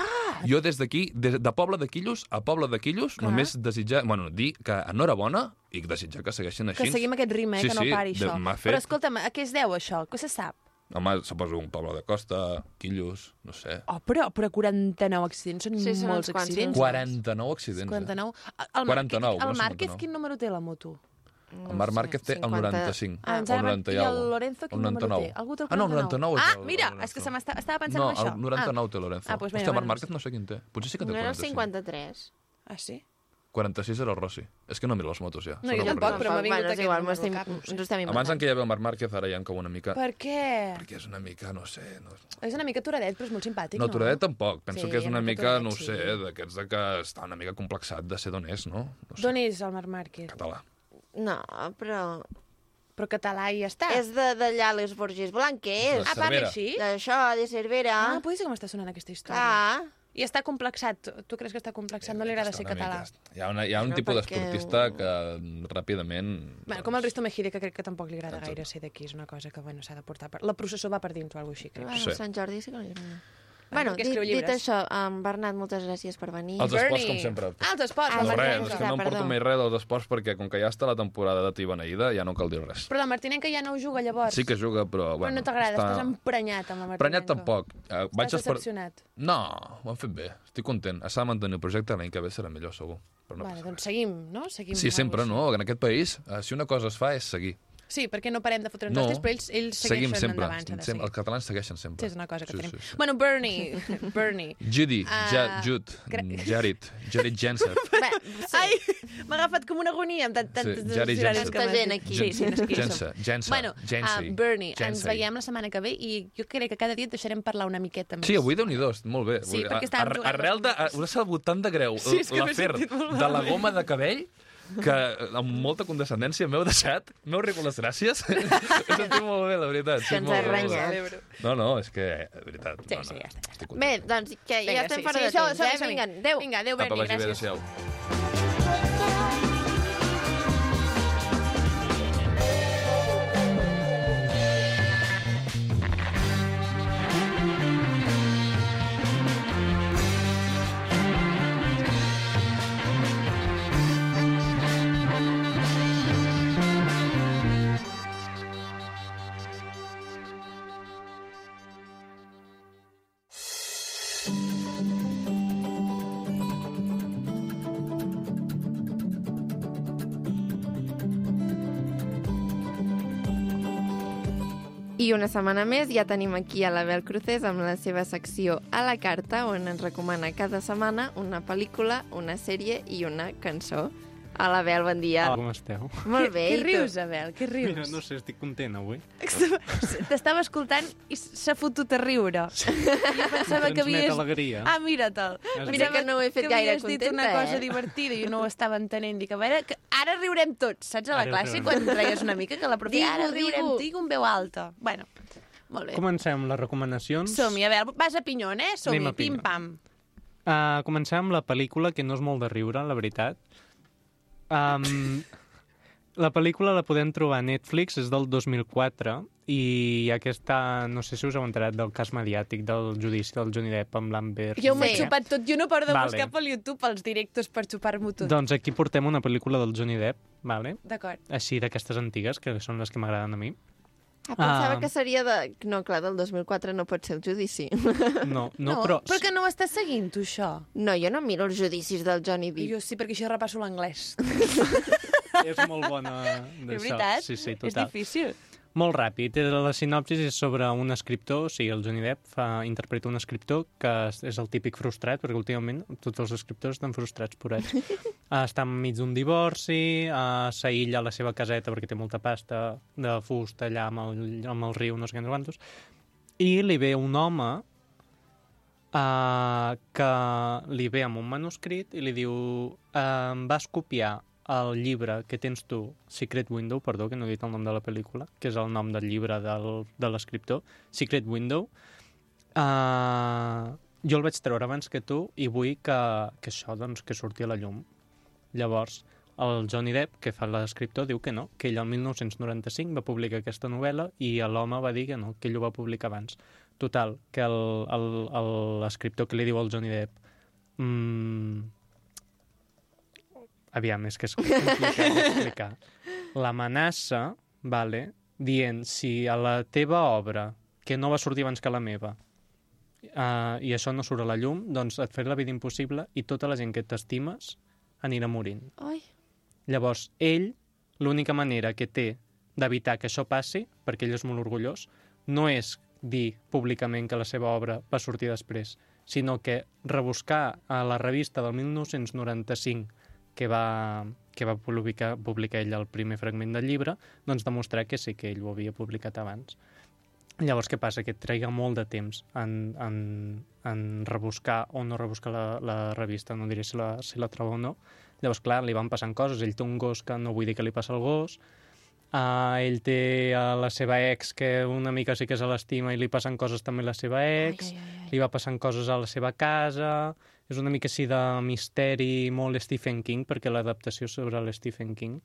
Jo des d'aquí, des de Poble de Quillos a Poble de Quillos, només desitjar, bueno, dir que enhorabona i desitjar que segueixin així. Que seguim aquest ritme, Sí, eh? que no sí, pari, de- això. m'ha fet- Però escolta'm, a què es deu, això? Què se sap? Home, suposo un poble de costa, Quillos, no sé. Oh, però, però 49 accidents són Sí, són molts uns quants, sí, uns accidents. 49 accidents. 49. El, 49, Márquez, no el sé, Márquez, 49. quin número té la moto? Eh? El Marc Márquez té el 95. Ah, ens o ara van- 90 i alguna cosa. el Lorenzo, quin El número 99. té? Algú té el Ah, no, el 99 49. és Ah, el- el mira, Lorenzo. és que se m'està- estava pensant no, en això. el 99 té Lorenzo. Ah, doncs mira, Hòstia, Marc bueno, Márquez no sé quin té. Potser sí que té No era el 45. 53. Ah, sí? 46 era el Rossi. És que no miro les motos ja. No, Són jo tampoc, avorrides. però m'ha vingut bueno, és aquest igual, número m'estem- al cap, no sé. ens ho estem Abans en inventant. què hi havia el Marc Márquez, ara hi ha com una mica... Per què? Perquè és una mica, no sé... No, És una mica turadet, però és molt simpàtic, No, no? Touradet tampoc. Penso Sí, que és una una mica, Touradet, no ho sí. sé, d'aquests de que està una mica complexat de ser d'on és, no? no sé, D'on és el Marc Márquez? català. No, però... Però català i ja està. És de d'allà, les Borges Blanques. De Ah, parla Cervera. així? D'això, de Cervera. Ah. Ah, potser sí que m'està sonant aquesta història. Clar. I està complexat. Tu creus que està complexat? No li agrada Està ser una català. Mica, hi ha, una, hi ha un Però tipus perquè- d'esportista que ràpidament... Bueno, Doncs. com el Risto Mejide, que crec que tampoc li agrada gaire ser d'aquí. És una cosa que, bueno, s'ha de portar per... La processó va per dins o alguna cosa així, crec. Bueno, Sí. Ah, Sant Jordi sí que li agrada. Bueno, perquè dit, escriu dit llibres. això, um, Bernat, moltes gràcies per venir. Els esports, com sempre. Ah, els esports. Ah, la no, res, Martinenca. és que no em Perdó. porto més res dels esports perquè com que ja està la temporada de Tibaneïda ja no cal dir res. Però la Martinenca ja no ho juga, llavors. Sí que juga, però... Però Bueno, no t'agrada, està- estàs emprenyat amb la Martinenca. Prenyat tampoc. Eh, vaig Estàs esper- decepcionat. No, ho han fet bé. Estic content. S'ha de mantenir el projecte, l'any que ve serà millor, segur. Però no Vale, passa doncs seguim, no? Seguim Sí, amb sempre, alguna no? En aquest país, eh, si una cosa es fa és seguir. cosa. Sí, perquè no parem de fotre'ns No, hòsties, però ells, ells Seguim segueixen sempre. endavant. s'ha de sempre. seguir. Els catalans segueixen sempre. Sí, és una cosa que Sí, tenim. sí, sí. Bueno, Bernie, Bernie. Judy, Ah, ja, Jud, mm, cre- Jared, Jared Jensen. Bé, sí. Ai, m'ha agafat com una agonia amb tant- tantes Sí, Jari diccionaris Jensen. que m'has Molta gent dit. aquí. Sí, sí, no és que hi som. Jensen, Jensen, Bueno, Jensen, uh, Bernie, ens Jensen. veiem la setmana que ve i jo crec que cada dia et deixarem parlar una miqueta més. Sí, avui déu nhi molt bé. Sí, Vull dir, perquè a- estàvem ar- jugant Arrel de... a- Una sabotant de greu. Sí, és que m'he L'afer sentit molt de la goma de cabell que eh, amb molta condescendència m'heu deixat, m'heu rigut les gràcies. He sentit molt bé, la veritat. Que Sí, ens molt ha bé, molt bé. renyat. No, no, és que, eh, de veritat. Sí, no, no, sí, ja està, ja estic Bé, content. doncs que ja Vinga, estem sí, fora sí, de som- temps, som- eh? som- Vinga, adéu. Vinga, adéu, Apa, Bernie, vagi bé, gràcies. adéu. I una setmana més ja tenim aquí a l'Abel Cruces amb la seva secció a la carta, on ens recomana cada setmana una pel·lícula, una sèrie i una cançó. A l'Abel, bon dia. Hola, com esteu? Molt bé. Què i tu? rius, Abel? Què rius? Mira, no sé, estic content avui. T'estava escoltant i s'ha fotut a riure. Jo pensava Em que transmet havies... alegria. Ah, mira te'l Mira Mira que no ho he fet gaire havies dit contenta, una cosa eh? divertida i jo no ho estava entenent. Dic, a veure, que ara riurem tots, saps? A la Ara classe, riurem. quan reies una mica, que la profe... Digo, ara riurem, digo. digue un veu alta. Bueno, molt bé. Comencem les recomanacions. Som-hi, a veure, vas a pinyon, eh? Anem Som-hi, a Pinyó. pim-pam. Uh, comencem amb la pel·lícula, que no és molt de riure, la veritat. Um, La pel·lícula la podem trobar a Netflix, és del 2004, i aquesta, no sé si us heu enterat del cas mediàtic del judici del Johnny Depp amb l'Amber... Jo m'ho he Sí. xupat tot, jo no paro de Vale. buscar pel YouTube els directos per xupar-m'ho tot. Doncs aquí portem una pel·lícula del Johnny Depp, vale? D'acord. així d'aquestes antigues, que són les que m'agraden a mi. Ah, pensava Ah. que seria de... No, clar, del 2004 no pot ser el judici. No, no, però... però que no ho estàs seguint, tu, això. No, jo no miro els judicis del Johnny I Depp. jo sí, perquè això repasso l'anglès. És molt bona d'això. veritat? Sí, sí, És total. difícil. Molt ràpid. Eh, La sinopsis és sobre un escriptor, o sigui, el Johnny Depp fa, interpreta un escriptor que és- és el típic frustrat, perquè últimament tots els escriptors estan frustrats, porats. Eh, Està enmig d'un divorci, eh, s'aïlla a la seva caseta perquè té molta pasta de fusta allà amb el, amb el riu, no sé què, no sé quantos, i li ve un home eh, que li ve amb un manuscrit i li diu eh, em vas copiar el llibre que tens tu, Secret Window, perdó, que no he dit el nom de la pel·lícula, que és el nom del llibre del, de l'escriptor, Secret Window, uh, jo el vaig treure abans que tu i vull que, que això doncs, que surti a la llum. Llavors, el Johnny Depp, que fa l'escriptor, diu que no, que ell el 1995 va publicar aquesta novel·la i l'home va dir que no, que ell ho va publicar abans. Total, que el- el- el- l'escriptor que li diu al Johnny Depp mm, Aviam, és que és complicat d'explicar. L'amenaça, vale, dient si a la teva obra, que no va sortir abans que la meva, uh, i això no surt a la llum, doncs et faré la vida impossible i tota la gent que t'estimes anirà morint. Ai, Llavors, ell, l'única manera que té d'evitar que això passi, perquè ell és molt orgullós, no és dir públicament que la seva obra va sortir després, sinó que rebuscar a la revista del 1995 que va, que va publicar, publicar ell el primer fragment del llibre, doncs demostrar que sí que ell ho havia publicat abans. Llavors, què passa? Que traiga molt de temps en, en, en rebuscar o no rebuscar la, la revista, no diré si la, si la trobo o no, Llavors, clar, li van passant coses. Ell té un gos que no vull dir que li passa el gos. Uh, ell té a la seva ex que una mica sí que se l'estima i li passen coses també a la seva ex. Ai, ai, ai. Li va passant coses a la seva casa. És una mica així de misteri molt Stephen King, perquè l'adaptació és sobre l'Stephen King.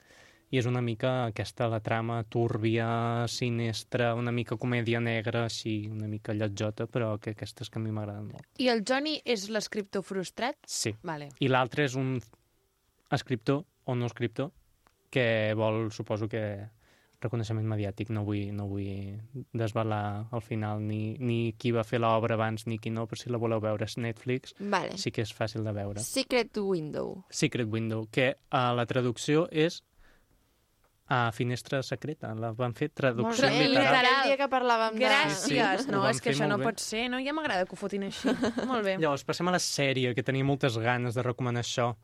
I és una mica aquesta, la trama túrbia, sinistra, una mica comèdia negra, així, una mica lletjota, però que aquestes que a mi m'agraden molt. I el Johnny és l'escriptor frustrat? Sí. Vale. I l'altre és un escriptor o no escriptor que vol, suposo que reconeixement mediàtic. No vull, no vull desvelar al final ni, ni qui va fer l'obra abans ni qui no, però si la voleu veure és Netflix, vale. sí que és fàcil de veure. Secret Window. Secret Window, que a la traducció és a finestra secreta. La van fer traducció Molt bé, literal. literal. El dia que parlàvem de... Gràcies. Sí, sí, No, ho van és que fer això molt no bé. pot ser, no? Ja m'agrada que ho fotin així. Molt bé. Llavors, passem a la sèrie, que tenia moltes ganes de recomanar això,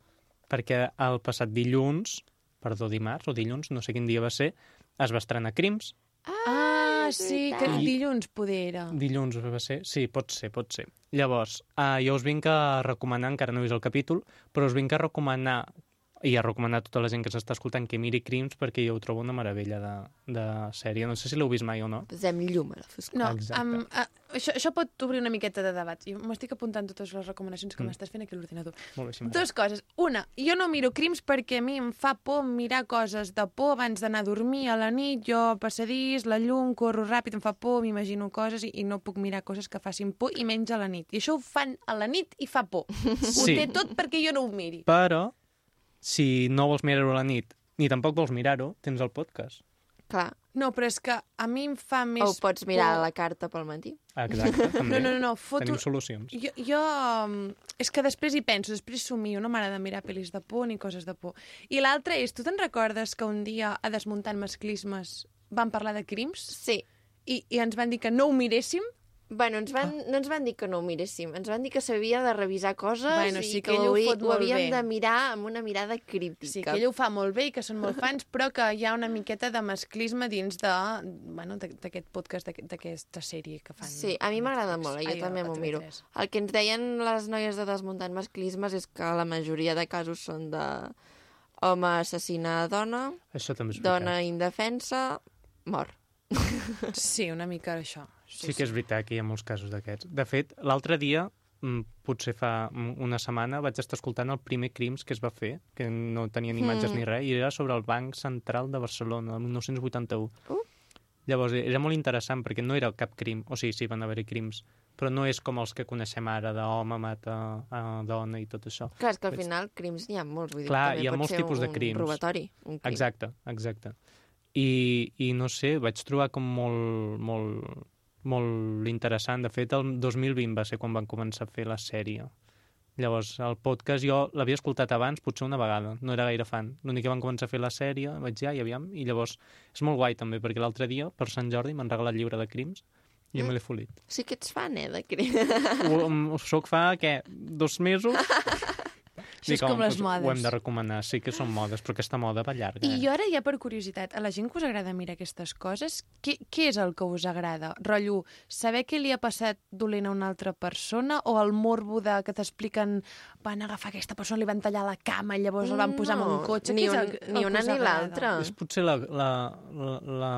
perquè el passat dilluns, perdó, dimarts o dilluns, no sé quin dia va ser, es va estrenar Crims. Ah, sí, que veritat. dilluns poder era. Dilluns va ser? Sí, pot ser, pot ser. Llavors, eh, jo us vinc a recomanar, encara no he vist el capítol, però us vinc a recomanar i a recomanar a tota la gent que s'està escoltant que miri Crims perquè jo ho trobo una meravella de, de sèrie. No sé si l'heu vist mai o no. Posem llum a la foscor. No, Exacte. um, uh, això, això pot obrir una miqueta de debat. Jo m'estic apuntant totes les recomanacions que Mm. m'estàs fent aquí a l'ordinador. Molt bé, si m'agrada. Dues coses. Una, jo no miro crims perquè a mi em fa por mirar coses de por abans d'anar a dormir a la nit, jo passadís, la llum, corro ràpid, em fa por, m'imagino coses i, i no puc mirar coses que facin por i menys a la nit. I això ho fan a la nit i fa por. Ho Sí. té tot perquè jo no ho miri. Però, si no vols mirar-ho a la nit, ni tampoc vols mirar-ho, tens el podcast. Clar, No, però és que a mi em fa més o pots mirar por... la carta pel matí. Exacte, també. No, no, no, no, foto... Tenim solucions. Jo, jo... mm, És que després hi penso, després somio, no m'agrada mirar pel·lis de por ni coses de por. I l'altra és, tu te'n recordes que un dia a Desmuntant Masclismes van parlar de crims Sí. i, i ens van dir que no ho miréssim? Ah. Bueno, ens van, no ens van dir que no ho miréssim, ens van dir que s'havia de revisar coses Bueno, i sí que, que ell ho hauria- fot molt havíem bé. de mirar amb una mirada crítica. Sí, que ell ho fa molt bé i que són molt fans, però que hi ha una miqueta de masclisme dins de, bueno, d'aqu- d'aquest podcast, d'aqu- d'aquesta sèrie que fan. Sí, a mi m'agrada molt, eh? jo Ai, també a m'ho TV3. miro. El que ens deien les noies de Desmuntant Masclismes és que la majoria de casos són de home assassina a dona, Això també és veritat. dona indefensa, mort. Sí, una mica això. Sí que és veritat que hi ha molts casos d'aquests. De fet, l'altre dia mm, potser fa mm, una setmana vaig estar escoltant el primer Crims que es va fer, que no tenien imatges Mm. ni res, i era sobre el Banc Central de Barcelona, el 1981. Uh. Llavors, era molt interessant, perquè no era cap crim, o sigui, sí, van haver-hi crims, però no és com els que coneixem ara, d'home mata a dona i tot això. Clar, és que al final crims n'hi ha molts. Vull dir, Clar, també hi ha pot molts ser tipus de un crims. robatori, un crim. Exacte, exacte. I, I no sé, vaig trobar com molt, molt, molt interessant. De fet, el 2020 va ser quan van començar a fer la sèrie. Llavors, el podcast jo l'havia escoltat abans, potser una vegada, no era gaire fan. L'únic que van començar a fer la sèrie, vaig ja i aviam, i llavors és molt guai també, perquè l'altre dia, per Sant Jordi, m'han regalat llibre de crims i Mm. jo me l'he folit. Sí que ets fan, eh, de crims. Ho, em- ho soc fa, què, dos mesos? Això és Dic, home, com les doncs Ho modes. hem de recomanar, sí que són modes, però aquesta moda va llarga. eh? I jo ara ja per curiositat, a la gent que us agrada mirar aquestes coses, què, què és el que us agrada? Rotllo, saber què li ha passat dolent a una altra persona o el morbo de que t'expliquen van agafar aquesta persona, li van tallar la cama i llavors el van posar en un cotxe? Ni, què és un, el, que- ni el que una us ni agrada? l'altra. És potser la, la, la, la,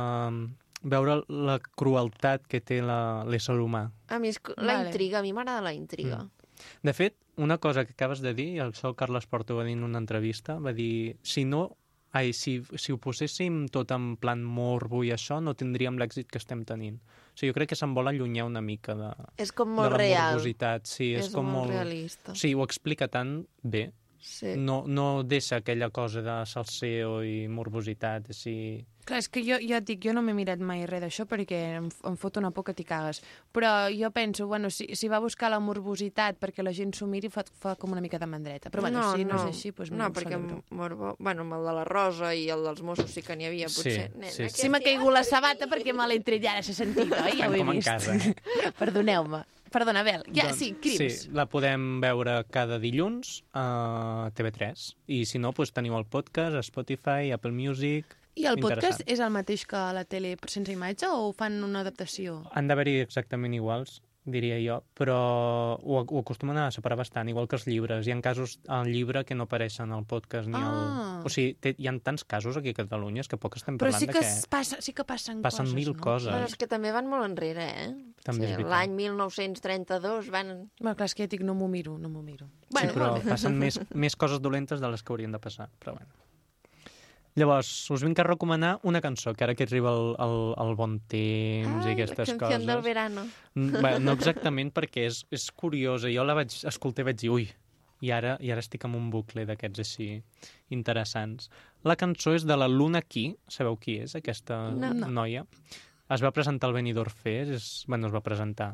veure la crueltat que té la- l'ésser humà. A mi és cu- la Vale. intriga, a mi m'agrada la intriga. Mm. De fet, una cosa que acabes de dir, i això el Carles Porto va dir en una entrevista, va dir, si no, ai, si, si ho poséssim tot en plan morbo i això, no tindríem l'èxit que estem tenint. O sigui, jo crec que se'n vol allunyar una mica de, És com de molt la real. morbositat. Sí, és, és com molt molt... realista. Sí, ho explica tan bé. Sí. No, no deixa aquella cosa de salseo i morbositat, així... Clar, és que jo, jo et dic, jo no m'he mirat mai res d'això perquè em, f- em fot una por que t'hi cagues. Però jo penso, bueno, si, si va buscar la morbositat perquè la gent s'ho miri, fa, fa com una mica de mandreta. Però bueno, si no, és així, doncs no, perquè celebro. morbo... Bueno, amb el de la Rosa i el dels Mossos sí que n'hi havia, Sí, potser. sí, Nena, sí. que Sí, m'ha caigut la sabata perquè me l'he tret i ara s'ha sentit, oi? Estan Ja ho he com en vist. casa. eh? Doncs, Perdoneu-me. Perdona, Abel. Ja, sí, crims. Sí, la podem veure cada dilluns a TV3. I si no, doncs teniu el podcast, a Spotify, Apple Music... I el podcast Interessant. és el mateix que la tele però sense imatge o fan una adaptació? Han d'haver-hi exactament iguals, diria jo, però ho, ho acostumen a separar bastant, igual que els llibres. Hi ha casos al llibre que no apareixen al podcast ni Ah. al... O sigui, té, hi ha tants casos aquí a Catalunya, és que poc estem Però parlant sí que, de es que passa, sí que passen, passen coses, mil no? coses. Bueno, és que també van molt enrere, eh? També és sí, veritat. L'any 1932 van... Bueno, clar, és que ja et dic, no m'ho miro, no m'ho miro. Bueno, Bueno, sí, però molt bé. passen més, més coses dolentes de les que haurien de passar, però bueno. Llavors, us vinc a recomanar una cançó, que ara que arriba el, el, el bon temps i Ai, Ah, la aquestes canción coses... del verano. Mm, Bé, no exactament perquè és, és curiosa. Jo la vaig escoltar i vaig dir, ui, i ara, i ara estic en un bucle d'aquests així interessants. La cançó és de la Luna Key, sabeu qui és aquesta No, no. noia? Es va presentar al Benidorm Fest, és... bueno, es va presentar,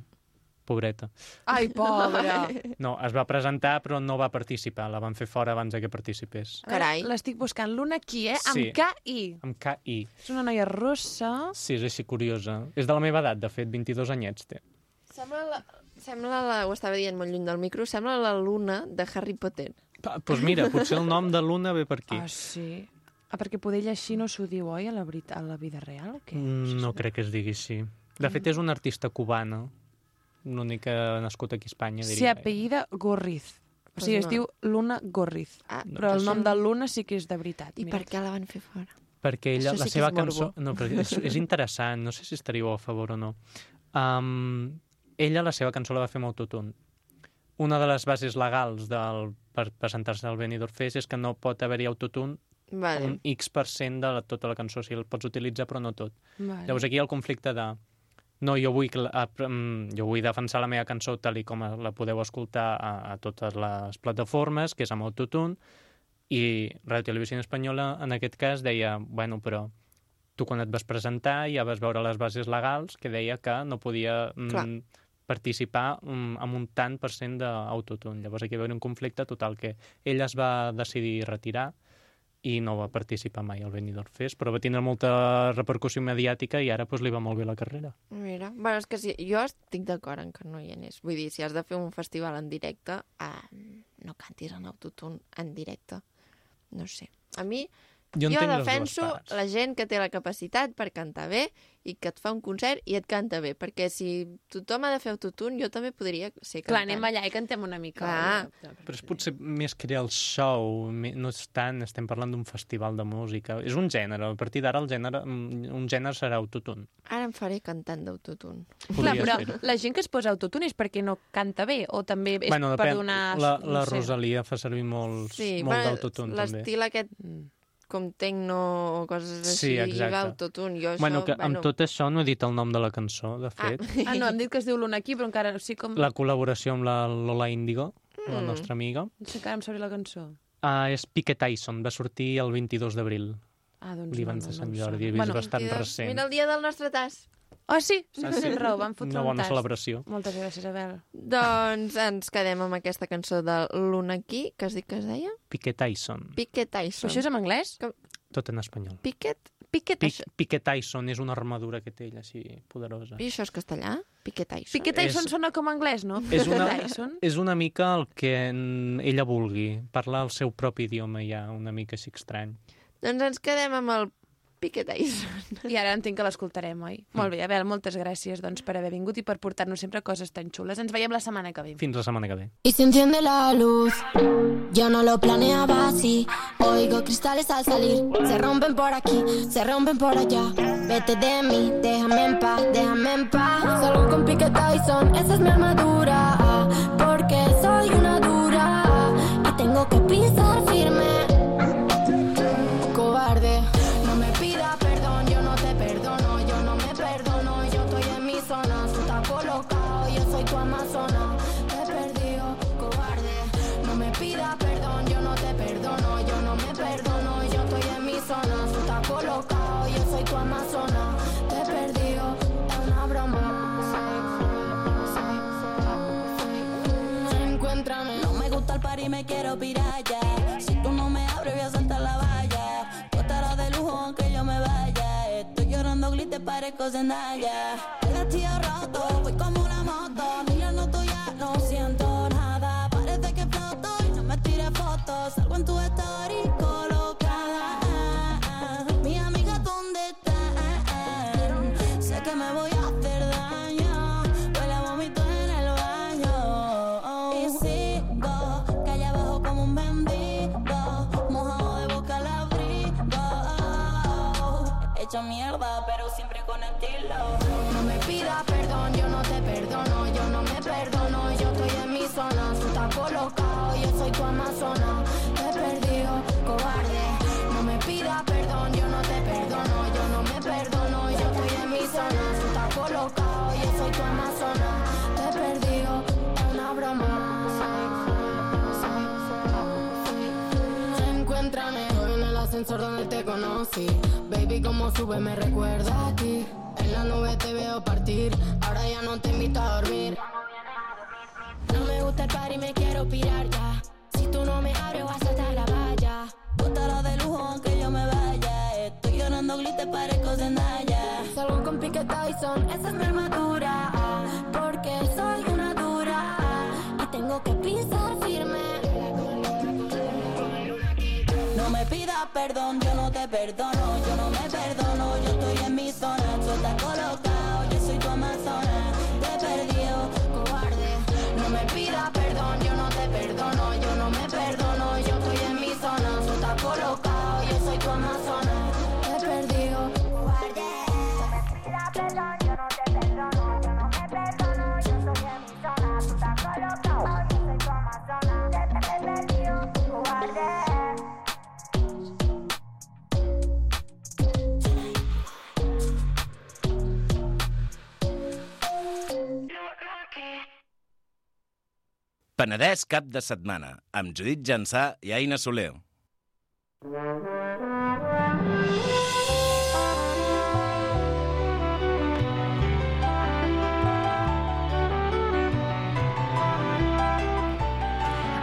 pobreta. Ai, pobra. No, es va presentar però no va participar, la van fer fora abans de que participés. Carai. L'estic buscant. L'una aquí, eh? Amb Sí. K-I. Amb K.I. És una noia russa. Sí, és així curiosa. És de la meva edat, de fet, 22 anyets té. Sembla la... Sembla la... Ho estava dient molt lluny del micro. Sembla la luna de Harry Potter. Doncs pues mira, potser el nom de Luna ve per aquí. Ah, sí? Ah, perquè poder llegir no s'ho diu, oi, a la, verit- a la vida real? O què? Mm, No crec que es digui així. De Mm. fet, és una artista cubana, l'única nascut aquí a Espanya, Se diria. apellida Gorriz. O Pues sigui, es no. diu Luna Gorriz. Ah, Però el nom de Luna sí que és de veritat. I mira. per què la van fer fora? Perquè ella, Això sí la que seva és morbo. cançó... No, però és, és interessant, no sé si estaríeu a favor o no. Um, ella, la seva cançó la va fer amb autotune. Una de les bases legals del, per presentar-se al Benidorm Fest és que no pot haver-hi autotune Vale. un X% de la, tota la cançó. O sigui, el pots utilitzar, però no tot. Vale. Llavors aquí hi ha el conflicte de no, jo vull, que la- ap- mm, jo vull defensar la meva cançó tal i com la podeu escoltar a, a totes les plataformes, que és amb autotune, i Radio Televisió Espanyola en aquest cas deia, bueno, però tu quan et vas presentar ja vas veure les bases legals que deia que no podia Clar. mm, participar mm, amb un tant per cent d'autotune. Llavors aquí va haver un conflicte total que ell es va decidir retirar i no va participar mai al Benidorm Fest, però va tindre molta repercussió mediàtica i ara pues, li va molt bé la carrera. Mira, bueno, és que si, jo estic d'acord en que no hi anés. Vull dir, si has de fer un festival en directe, ah, no cantis en autotune en directe. No sé. A mi Jo, Jo entenc les dues defenso parts. la gent que té la capacitat per cantar bé i que et fa un concert i et canta bé, perquè si tothom ha de fer autotune, jo també podria ser Clar, cantant. anem allà i cantem una mica. Clar. Però és potser més crear el show, me- no és tant, estem parlant d'un festival de música. És un gènere, a partir d'ara el gènere, mm, un gènere serà autotun. Ara em faré cantant d'autotune. Clar, però fer-ho. la gent que es posa autotune és perquè no canta bé o també és Bueno, per depèn, donar... la, la no sé. Rosalia fa servir molt, sí, molt bueno, d'autotun, també. L'estil aquest Mm. com tecno o coses Sí, així, sí, exacte. va autotune. Jo Bueno, això, que amb tot això no he dit el nom de la cançó, de fet. Ah, no, hem dit que es diu l'una aquí, però encara, o sigui, com... La col·laboració amb la Lola Índigo, la Mm. Mm. nostra amiga, Sí, encara em sap la cançó. uh, és Pique Tyson, va sortir el 22 d'abril, Ah, doncs no, l'Ivans no, de Sant no em Jordi, he sona. vist Bueno, bastant Mira, recent. eh, Ah, Mira el dia del nostre tas. Oh, sí, sí, sí, raó, vam fotre Una un bona tast. celebració. Moltes gràcies, Abel. Doncs ens quedem amb aquesta cançó de l'Una aquí, que es diu que es deia? Pique Tyson, Piquet Però Tyson. això és en anglès? tot en espanyol. Piquet? Piquet, Pic, Pique Tyson és una armadura que té ell, així, poderosa. I això és castellà? Piquet Tyson. Piquet Tyson És- sona com anglès, no? És una- Piquet Tyson. És una mica el que mm, ella vulgui, parlar el seu propi idioma ja, una mica així estrany. Doncs ens quedem amb el Piquet Tyson. I ara entenc que l'escoltarem, oi? Molt bé, Abel, moltes gràcies doncs, per haver vingut i per portar-nos sempre coses tan xules. Ens veiem la setmana que ve. Fins la setmana que ve. Y se enciende la luz. Yo no lo planeaba así. Oigo cristales al salir. Se rompen por aquí, se rompen por allá. Vete de mí, déjame en paz, déjame en paz. Salgo con Pique Tyson, esa es mi armadura. ah, Porque soy una dura. ah, Y tengo que pisar firme cobarde. No me pida perdón, yo no te perdono, yo no me perdono, yo estoy en mi zona, tú estás colocado, yo soy tu amazona, te he perdido, cobarde. No me pida perdón, yo no te perdono, yo no me perdono, yo estoy en mi zona, tú estás colocado, yo soy tu amazona, te he perdido, es una broma. Encuéntrame. No me gusta el par y me quiero pirar ya. Si tú no me abres, voy a saltar la valla. Tú estarás de lujo aunque yo me vaya. Estoy llorando glitter, parezco Zendaya. El vestido roto, voy como una moto. Mirando tuya, no siento nada. Parece que floto y no me tires fotos. Salgo en tu story colocada. Mi amiga, ¿dónde están? Sé que me voy a hacer daño. Huele a vómito en el baño. Y sigo, calle abajo como un bendito. Mojado de boca al abrigo. Hecho mierda, pero siempre con estilo. No me pida perdón, yo no te perdono, yo no me perdono, yo estoy en mi zona, tú estás colocado, yo soy tu amazona, te he perdido, cobarde. No me pida perdón, yo no te perdono, yo no me perdono, yo estoy en mi zona, tú estás colocado, yo soy tu amazona, te he perdido, es una broma. Encuéntrame hoy en el ascensor donde te conocí. Baby, como sube, me recuerda a ti. En la nube te veo partir. Ahora ya no te invito a dormir. No me gusta el party, me quiero pirar ya. Si tú no me abres, vas a saltar la valla. Tú estarás de lujo aunque yo me vaya. Estoy llorando glitter, parezco Zendaya. Salgo con Pique Tyson, esa es mi armadura. ah, Porque soy una dura. ah, Y tengo que pisar firme. No me pidas perdón, yo no te perdono, yo no me perdono, yo estoy en mi zona, tú estás colocado, yo soy tu amazona, te perdió, cobarde. No me pida perdón, yo no te perdono, yo no me perdono, yo estoy en mi zona, tú estás colocado, yo soy tu amazona, te he perdido, cobarde. No me pida perdón, yo no te perdono, yo no me perdono, yo estoy en mi zona, tú estás colocado, yo soy tu amazona, te he perdido, cobarde. Penedès cap de setmana, amb Judit Jansà i Aina Soler.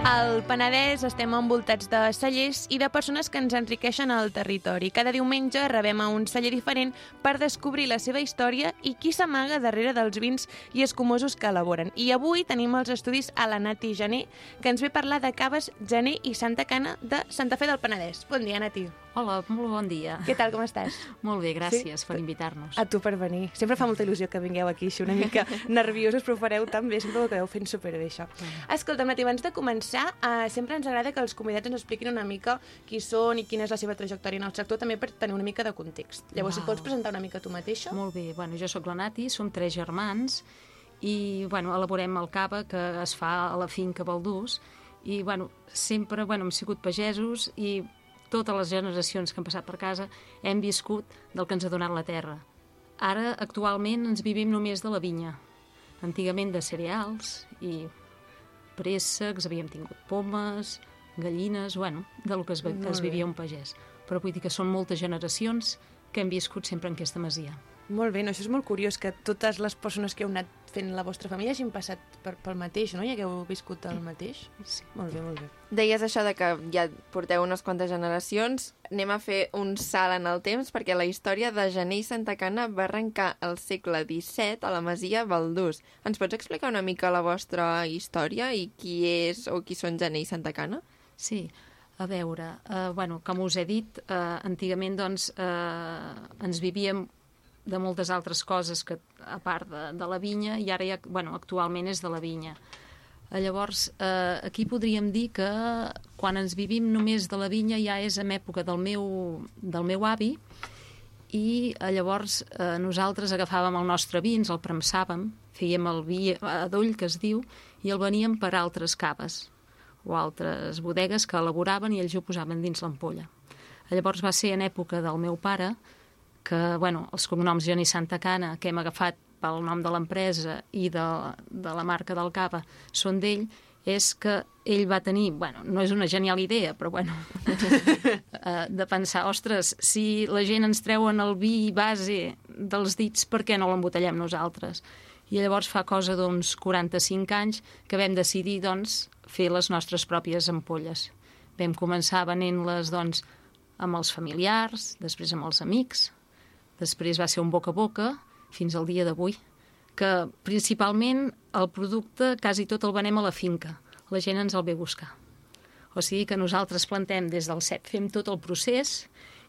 Al Penedès estem envoltats de cellers i de persones que ens enriqueixen el territori. Cada diumenge rebem a un celler diferent per descobrir la seva història i qui s'amaga darrere dels vins i escumosos que elaboren. I avui tenim els estudis a la Nati Gené, que ens ve a parlar de caves Gené i Santa Cana de Santa Fe del Penedès. Bon dia, Nati. Hola, molt bon dia. Què tal, com estàs? Molt bé, gràcies sí? per invitar-nos. A tu per venir. Sempre fa molta il·lusió que vingueu aquí, així una mica nerviosos, però ho fareu tan bé, sempre ho acabeu fent superbé, això. Escolta, Nati, abans de començar, eh, sempre ens agrada que els convidats ens expliquin una mica qui són i quina és la seva trajectòria en el sector, també per tenir una mica de context. Llavors, si Val. pots presentar una mica tu mateixa? Molt bé, bueno, jo sóc la Nati, som tres germans i bueno, elaborem el cava que es fa a la finca Baldús i bueno, sempre bueno, hem sigut pagesos i totes les generacions que han passat per casa hem viscut del que ens ha donat la terra. Ara, actualment, ens vivim només de la vinya. Antigament de cereals i préssecs, havíem tingut pomes, gallines, bueno, de lo que es, ve- que es vivia un pagès. Però vull dir que són moltes generacions que hem viscut sempre en aquesta masia. Molt bé, no? això és molt curiós, que totes les persones que heu anat fent la vostra família hagin passat per, pel mateix, no? I hagueu viscut el mateix. Sí. Molt bé, molt bé. Deies això de que ja porteu unes quantes generacions. Anem a fer un salt en el temps perquè la història de Gener i Santa Cana va arrencar al segle XVII a la Masia Valdús. Ens pots explicar una mica la vostra història i qui és o qui són Gener i Santa Cana? Sí, a veure, eh, bueno, com us he dit, eh, antigament doncs, eh, ens vivíem de moltes altres coses que, a part de, de la vinya i ara ja, bueno, actualment és de la vinya. Eh, Llavors, eh, aquí podríem dir que quan ens vivim només de la vinya ja és en època del meu, del meu avi i eh, llavors eh, nosaltres agafàvem el nostre vi, ens el premsàvem, fèiem el vi a doll, que es diu, i el veníem per altres caves o altres bodegues que elaboraven i ells ho posaven dins l'ampolla. Llavors va ser en època del meu pare que, bueno, els cognoms Geni Santa Cana, que hem agafat pel nom de l'empresa i de, de la marca del cava, són d'ell, és que ell va tenir, bueno, no és una genial idea, però bueno, eh, de pensar, ostres, si la gent ens treuen el vi base dels dits, per què no l'embotellem nosaltres? I llavors fa cosa d'uns 45 anys que vam decidir, doncs, fer les nostres pròpies ampolles. Vam començar venent-les, doncs, amb els familiars, després amb els amics, després va ser un boca a boca fins al dia d'avui, que principalment el producte quasi tot el venem a la finca. La gent ens el ve a buscar. O sigui que nosaltres plantem des del CEP, fem tot el procés,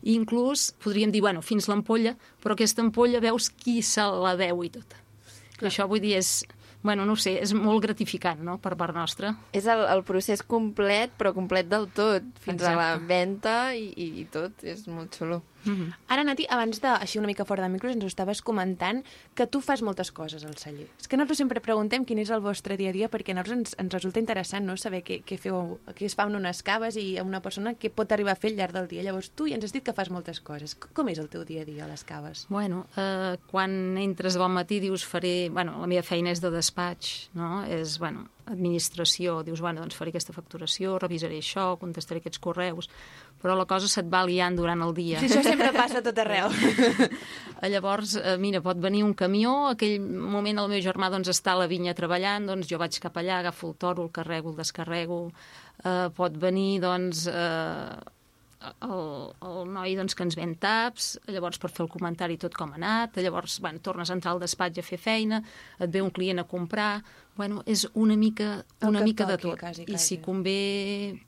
i inclús podríem dir, bueno, fins l'ampolla, però aquesta ampolla veus qui se la veu i tot. I això, vull dir, és, bueno, no ho sé, és molt gratificant, no?, per part nostra. És el, el procés complet, però complet del tot, fins Exacte. a la Exacte. venda i, i, i tot. És molt xulo. Ara, Nati, abans de, així una mica fora de micros, ens ho estaves comentant que tu fas moltes coses al celler. És que nosaltres sempre preguntem quin és el vostre dia a dia, perquè a nosaltres ens, ens resulta interessant no? saber què, què feu, què es fa en unes caves i a una persona què pot arribar a fer al llarg del dia. Llavors, tu ja ens has dit que fas moltes coses. C- Com és el teu dia a dia a les caves? Bueno, eh, quan entres al matí dius faré... Bueno, la meva feina és de despatx, no? És, bueno, administració. Dius, bueno, doncs faré aquesta facturació, revisaré això, contestaré aquests correus... Però la cosa se't va liant durant el dia. Sí, això sempre passa a tot arreu. Eh, Llavors, eh, mira, pot venir un camió, aquell moment el meu germà doncs, està a la vinya treballant, doncs jo vaig cap allà, agafo el toro, el carrego, el descarrego. Eh, pot venir, doncs, eh, el, el noi doncs, que ens ven taps, llavors per fer el comentari tot com ha anat, llavors bueno, tornes a entrar al despatx a fer feina, et ve un client a comprar... Bueno, és una mica, El una que mica de toqui, tot. quasi, I si quasi. convé...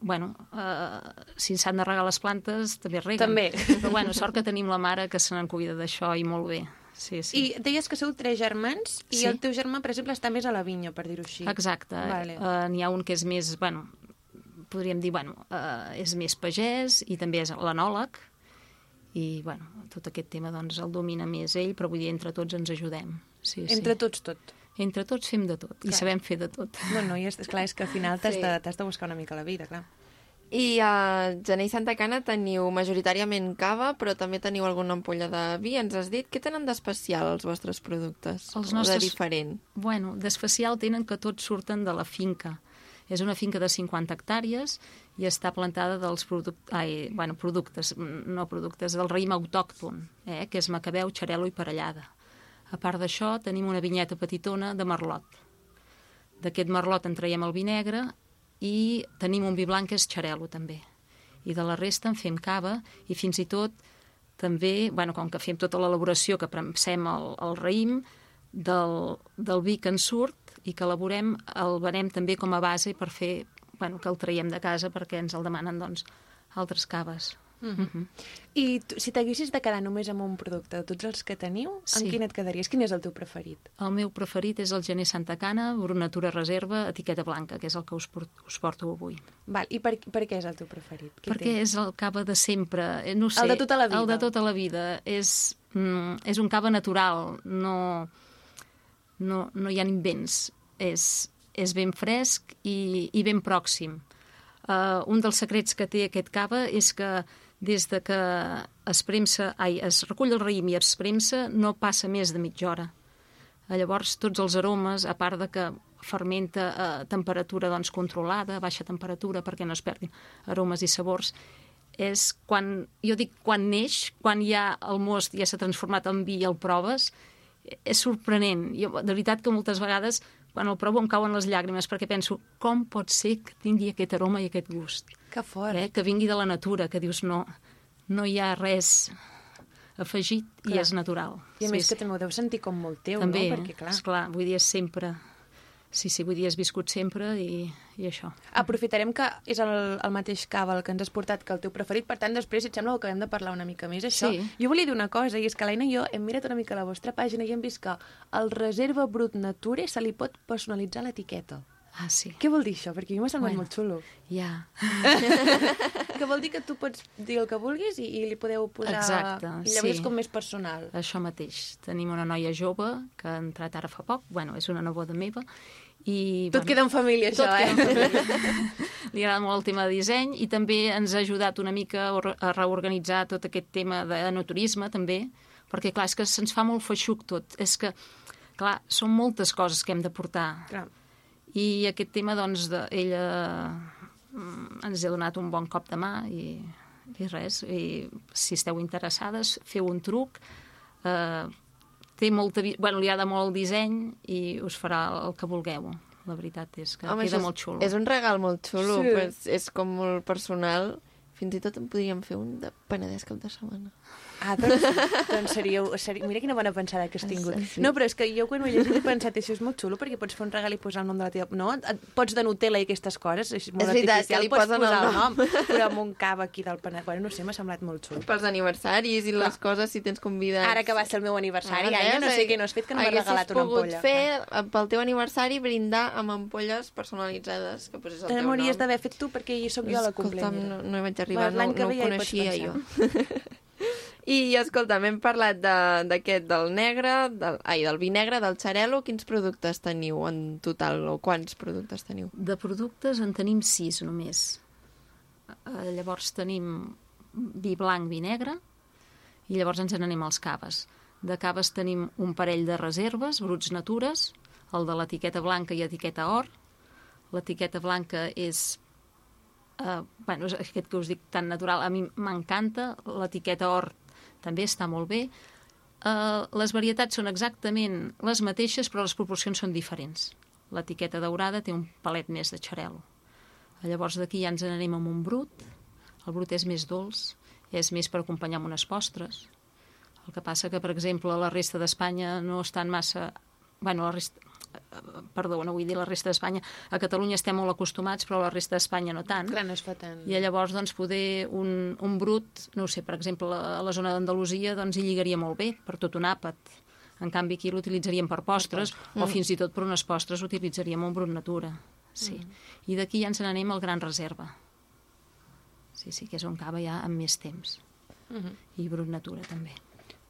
Bueno, eh, si s'han de regar les plantes, també es reguen. També. Però bueno, sort que tenim la mare que se n'encuida d'això i molt bé. Sí, sí. I deies que sou tres germans i Sí. el teu germà, per exemple, està més a la vinya, per dir-ho així. Exacte. Vale. Eh, N'hi ha un que és més, bueno, podríem dir, bueno, eh, és més pagès i també és l'enòleg i, bueno, tot aquest tema doncs el domina més ell, però vull dir, entre tots ens ajudem. Sí, Entre sí. tots, tot. entre tots fem de tot i sabem fer de tot. Bueno, i és, és clar, és que al final t'has sí. de, t'has de buscar una mica la vida, clar. I a Gener i Santa Cana teniu majoritàriament cava, però també teniu alguna ampolla de vi. Ens has dit què tenen d'especial els vostres productes? Els O nostres- De diferent. Bueno, d'especial tenen que tots surten de la finca. És una finca de 50 hectàrees i està plantada dels produc ai, bueno, productes, mm, no productes, del raïm autòcton, eh, que és macabeu, xarelo i parellada. A part d'això, tenim una vinyeta petitona de merlot. D'aquest merlot en traiem el vi negre i tenim un vi blanc que és xarelo, també. I de la resta en fem cava i fins i tot també, bueno, com que fem tota l'elaboració que premsem el, el raïm, del, del vi que en surt i que elaborem, el venem també com a base per fer, bueno, que el traiem de casa perquè ens el demanen, doncs, altres caves. Mm -hmm. Mhm. I tu, si t'haguessis de quedar només amb un producte de tots els que teniu, sí. Sí. amb quin et quedaries? Quin és el teu preferit? El meu preferit és el gener Santa Cana, Brunatura Reserva, etiqueta blanca, que és el que us, por us porto avui. Val, I per, per què és el teu preferit? Què Perquè té? és el cava de sempre, eh, no ho sé. de tota la vida. El de tota la vida. És, mm, és un cava natural, no, no, no hi ha invents. És, és ben fresc i, i ben pròxim. Uh, un dels secrets que té aquest cava és que des de que es premsa, ai, es recull el raïm i es premsa, no passa més de mitja hora. Eh, Llavors, tots els aromes, a part de que fermenta a temperatura doncs, controlada, a baixa temperatura, perquè no es perdin aromes i sabors, és quan, jo dic quan neix, quan ja el most ja s'ha transformat en vi i el proves, eh, és sorprenent. Jo, de veritat que moltes vegades, quan el provo, em cauen les llàgrimes, perquè penso, com pot ser que tingui aquest aroma i aquest gust? Que fort. eh? que vingui de la natura, que dius no, no hi ha res afegit i és natural. I a més Sí, que també ho deus sentir com molt teu, també, no? Perquè, clar, esclar, vull dir, és sempre... Sí, sí, vull dir, has viscut sempre i, i això. Aprofitarem que és el, el mateix cava el que ens has portat que el teu preferit, per tant, després, si et sembla, ho acabem de parlar una mica més, això. Sí. Jo volia dir una cosa, i és que l'Aina i jo hem mirat una mica la vostra pàgina i hem vist que el Reserva Brut Nature se li pot personalitzar l'etiqueta. Ah, sí, Què vol dir això? Perquè a mi m'ha semblat Bueno. bueno. molt xulo. ja. que vol dir que tu pots dir el que vulguis i, i li podeu posar... Exacte, I llavors sí. com més personal. Això mateix. Tenim una noia jove que ha entrat ara fa poc, bueno, és una neboda meva, i... Tot bueno, queda en família, això, eh? Li agrada molt el tema de disseny i també ens ha ajudat una mica a or- a reorganitzar tot aquest tema de naturisme, també, perquè, clar, és que se'ns fa molt feixuc tot. És que, clar, són moltes coses que hem de portar. Clar. I aquest tema, doncs, de, ella mm, ens ha donat un bon cop de mà i, i res. I si esteu interessades, feu un truc. Eh, té molta... vi- Bueno, li agrada molt el disseny i us farà el que vulgueu. La veritat és que Home, això queda és- molt xulo. És un regal molt xulo, Sí. sí. però és, és com molt personal. Fins i tot en podríem fer un de Penedès cap de setmana. Ah, doncs, doncs seríeu, seríeu... Mira quina bona pensada que has tingut. Sí. No, però és que jo quan ho he llegit he pensat, això és molt xulo, perquè pots fer un regal i posar el nom de la teva... No? Et- et Pots de Nutella i aquestes coses, és molt És veritat, artificial, que li pots posen posar el nom. però amb un cava aquí del Penedès. Bueno, no sé, m'ha semblat molt xulo. Pels aniversaris i les coses, si tens convidats... Ara que va ser el meu aniversari, ah, veus? Aina, Ah, no sé què no has fet, que no m'has Haguessis regalat una ampolla. pogut fer, eh, pel teu aniversari, brindar amb ampolles personalitzades que posés el Te teu nom. m'hauries d'haver fet tu, perquè hi sóc jo a la Escolta'm, no, complementa. no hi vaig arribar, no, L'any que no ve ho ja hi pots coneixia jo. I, escolta, hem parlat de- d'aquest del negre, del, ai, del vi negre, del xarel·lo. Quins productes teniu en total, o quants productes teniu? De productes en tenim sis només. Eh, Llavors tenim vi blanc, vi negre, i llavors ens n'anem als caves. De caves tenim un parell de reserves, bruts natures, el de l'etiqueta blanca i etiqueta or. L'etiqueta blanca és... Eh, bueno, és aquest que us dic tan natural, a mi m'encanta. L'etiqueta or també està molt bé. Eh, les varietats són exactament les mateixes, però les proporcions són diferents. L'etiqueta daurada té un palet més de xarel·lo. Llavors d'aquí ja ens n'anem amb un brut. El brut és més dolç, és més per acompanyar amb unes postres. El que passa que, per exemple, la resta d'Espanya no estan massa... Bueno, la resta... eh, eh, Perdó, no vull dir la resta d'Espanya. A Catalunya estem molt acostumats, però la resta d'Espanya no tant. Clar, no es fa tant. I llavors, doncs, poder un, un brut, no ho sé, per exemple, a la zona d'Andalusia, doncs, hi lligaria molt bé per tot un àpat. En canvi, aquí l'utilitzaríem per postres, Mm. o fins i tot per unes postres utilitzaríem un brut natura. Sí. Mm. I d'aquí ja ens n'anem al Gran Reserva. Sí, sí, que és on cava ja amb més temps. Mm-hmm. I brut natura, també.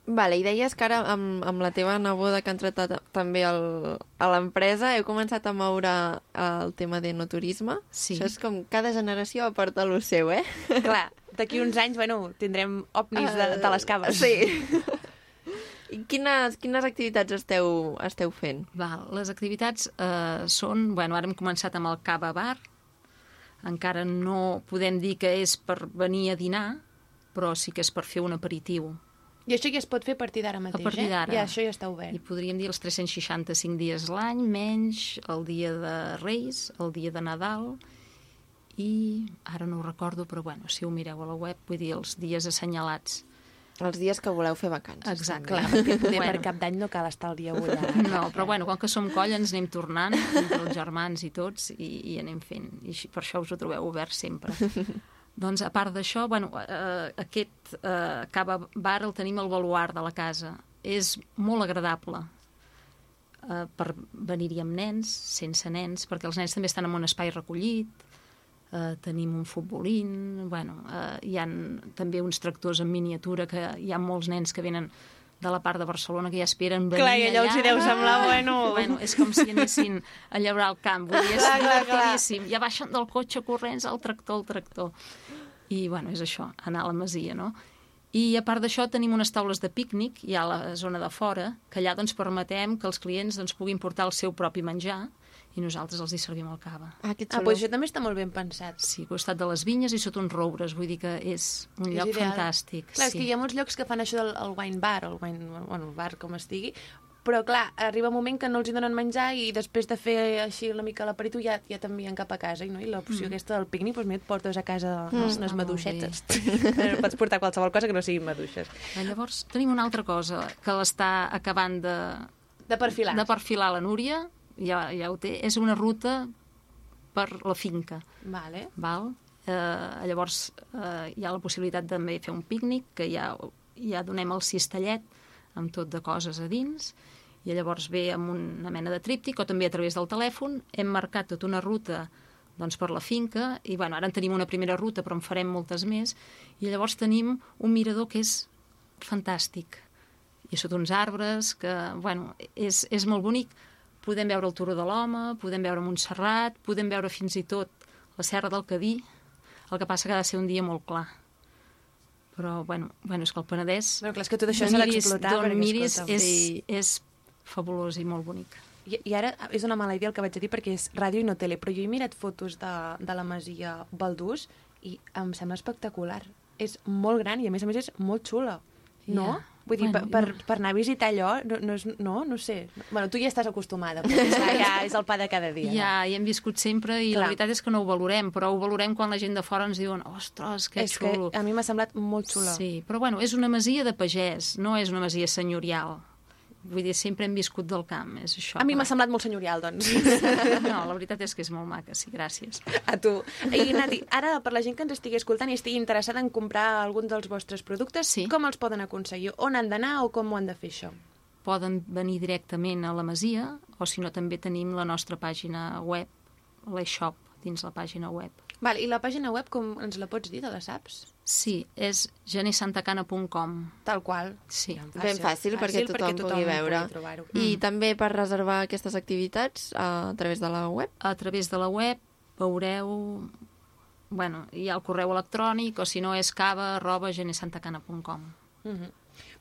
Vale, i deies que ara amb, amb la teva neboda que ha entrat a, també al, a l'empresa heu començat a moure eh, el tema de no turisme. Sí. Això és com cada generació aporta lo seu, eh? Clar, d'aquí uns anys, bueno, tindrem ovnis de, de les caves. Sí. I quines, quines activitats esteu, esteu fent? Val, les activitats eh, són... Bueno, ara hem començat amb el Cava Bar. Encara no podem dir que és per venir a dinar, però sí que és per fer un aperitiu. Eh. I això ja es pot fer a partir d'ara mateix, partir d'ara. eh? Ja, això ja està I obert. podríem dir els 365 dies l'any, menys el dia de Reis, el dia de Nadal i ara no ho recordo, però bueno, si ho mireu a la web, vull dir els dies assenyalats. Els dies que voleu fer vacances. Exacte. Clar, perquè poder bueno. per cap d'any no cal estar el dia avui. No, però bueno, com que som colla ens anem tornant, entre els germans i tots, i, i anem fent. I així- per això us ho trobeu obert sempre. Doncs, a part d'això, bueno, eh, aquest eh, cava bar el tenim al baluart de la casa. És molt agradable eh, per venir-hi amb nens, sense nens, perquè els nens també estan en un espai recollit, eh, tenim un futbolín, bueno, eh, hi han també uns tractors en miniatura que hi ha molts nens que venen de la part de Barcelona que ja esperen venir Clar, i allò allà. eh? els hi deu semblar, bueno. bueno és com si anessin a llaurar el camp. Vull dir, és divertidíssim. Ja baixen del cotxe corrents al tractor, al tractor. I, bueno, és això, anar a la masia, no? I a part d'això tenim unes taules de pícnic, hi ha la zona de fora, que allà doncs, permetem que els clients doncs, puguin portar el seu propi menjar i nosaltres els hi servim el cava. Ah, que xulo. Ah, doncs això també està molt ben pensat. Sí, costat de les vinyes i sota uns roures, vull dir que és un És lloc ideal. fantàstic. Clar, és sí. que hi ha molts llocs que fan això del el wine bar, o el wine, bueno, el bar com estigui, però clar, arriba un moment que no els hi donen menjar i després de fer així una mica l'aperitiu ja, ja t'envien cap a casa, i, no? I l'opció mm. aquesta del pícnic, doncs mira, et portes a casa mm. unes Està molt bé. maduixetes. Que eh, Pots portar qualsevol cosa que no siguin maduixes. Ah, Llavors tenim una altra cosa que l'està acabant de, De perfilar. de perfilar la Núria, ja, ja ho té, és una ruta per la finca. Vale. Val? Eh, llavors eh, hi ha la possibilitat també de fer un pícnic, que ja, ja donem el cistellet amb tot de coses a dins, i llavors ve amb una mena de tríptic o també a través del telèfon. Hem marcat tota una ruta doncs, per la finca, i bueno, ara en tenim una primera ruta, però en farem moltes més, i llavors tenim un mirador que és fantàstic. I sota uns arbres que, bueno, és, és molt bonic. Podem veure el Turó de l'Home, podem veure Montserrat, podem veure fins i tot la Serra del Cadí, el que passa que ha de ser un dia molt clar. Però, bueno, bueno és que el Penedès... Bueno, clar, és que tot això s'ha d'on miris- d'explotar, D'on perquè, miris escolta'm, és, sí. és fabulós i molt bonic. I, I ara ah, és una mala idea el que vaig a dir perquè és ràdio i no tele, però jo he mirat fotos de, de la masia Baldús i em sembla espectacular. És molt gran i a més a més és molt xula, no? Ja. Vull dir, Bueno, bueno, per, jo- per anar a visitar allò, no, no, és, no, no sé. Bueno, tu ja estàs acostumada, perquè ja, ja és el pa de cada dia. Ja, hi hem viscut sempre i Clar. la Clar. veritat és que no ho valorem, però ho valorem quan la gent de fora ens diuen ostres, que és xulo. que a mi m'ha semblat molt xula. Sí, però bueno, és una masia de pagès, no és una masia senyorial. Vull dir, sempre hem viscut del camp, és això. A mi m'ha semblat molt senyorial, doncs. No, la veritat és que és molt maca, sí, gràcies. A tu. I, Nati, ara, per la gent que ens estigui escoltant i estigui interessada en comprar algun dels vostres productes, Sí. com els poden aconseguir? On han d'anar o com ho han de fer, això? Poden venir directament a la masia o, si no, també tenim la nostra pàgina web, l'e-shop, dins la pàgina web. Val, I la pàgina web, com ens la pots dir, te la saps? Sí, és genersantacana.com. Tal qual. Sí. Mm. Ja, Ben fàcil, perquè tothom, pugui veure. trobar-ho. I també per reservar aquestes activitats eh, a través de la web. A través de la web veureu... Bueno, hi ha el correu electrònic o, si no, és cava arroba genersantacana.com. Mhm.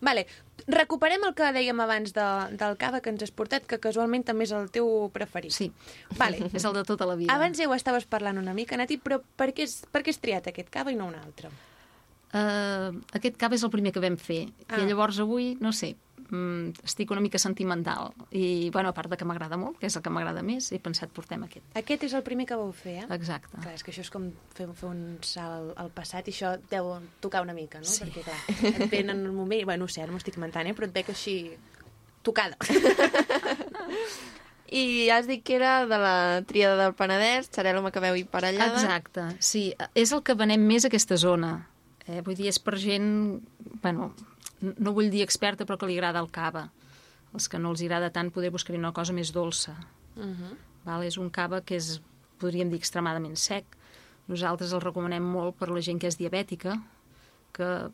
Vale, recuperem el que dèiem abans de, del cava que ens has portat, que casualment també és el teu preferit. Sí. Vale. És el de tota la vida. Abans ja ho estaves parlant una mica, Nati, però per què, és, per què has triat aquest cava i no un altre? Uh, aquest cava és el primer que vam fer ah. i llavors avui, no sé, mm, estic una mica sentimental i, bueno, a part de que m'agrada molt, que és el que m'agrada més, he pensat portem aquest. Aquest és el primer que vau fer, eh? Exacte. Clar, és que això és com fer, fer un salt al, al passat i això et deu tocar una mica, no? Sí. Perquè, clar, et ven en un moment... i, Bueno, no sé, ara m'ho estic inventant, eh? Però et veig així... tocada. I ja has dit que era de la tríada del Penedès, Xarel·la, Macabeu i Parellada. Exacte, sí, és el que venem més a aquesta zona. Eh, vull dir, és per gent, bueno, n- no vull dir experta, però que li agrada el cava. Els que no els agrada tant poder buscar una cosa més dolça. Uh Uh-huh. -huh. Val? És un cava que és, podríem dir, extremadament sec. Nosaltres el recomanem molt per la gent que és diabètica, que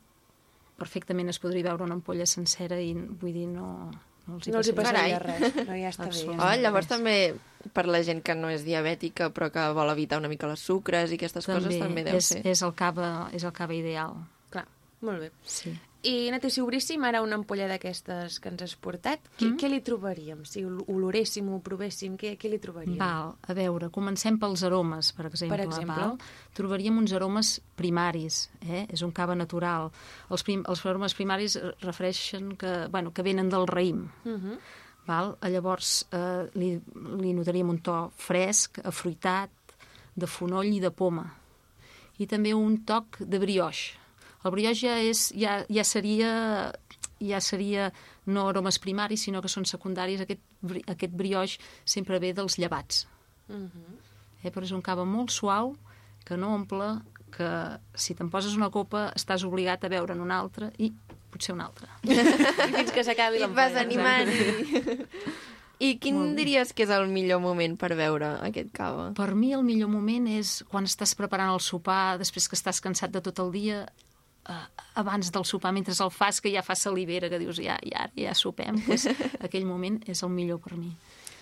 perfectament es podria veure una ampolla sencera i, vull dir, no... No els hi, No els hi Carai. passaria res. No, ja està bé. Absolutament. Oh, llavors també per la gent que no és diabètica però que vol evitar una mica les sucres i aquestes coses també deu és, ser. és, el cava, és el cava ideal. Clar, molt bé. Sí. I, Nati, si obríssim ara una ampolla d'aquestes que ens has portat, què, Mm-hmm. mm. què li trobaríem? Si ol- oloréssim o provéssim, què, què li trobaríem? Val, a veure, comencem pels aromes, per exemple. Per exemple. Val? Trobaríem uns aromes primaris, eh? és un cava natural. Els, prim, els aromes primaris eh, refereixen que, bueno, que venen del raïm. Uh -huh. Val? Eh, Llavors eh, li, li notaríem un to fresc, afruitat, de fonoll i de poma. I també un toc de brioix. El brioix ja, és, ja, ja seria ja seria no aromes primaris, sinó que són secundaris. Aquest, bri- aquest brioix sempre ve dels llevats eh? però és un cava molt suau que no omple que si te'n poses una copa estàs obligat a beure'n una altra i potser una altra. eh? Fins que s'acabi I et vas animant. I... I quin Molt bé. diries que és el millor moment per veure aquest cava? Per mi el millor moment és quan estàs preparant el sopar, després que estàs cansat de tot el dia, eh, abans del sopar, mentre el fas, que ja fas salivera, que dius, ja, ja, ara ja sopem, doncs aquell moment és el millor per mi.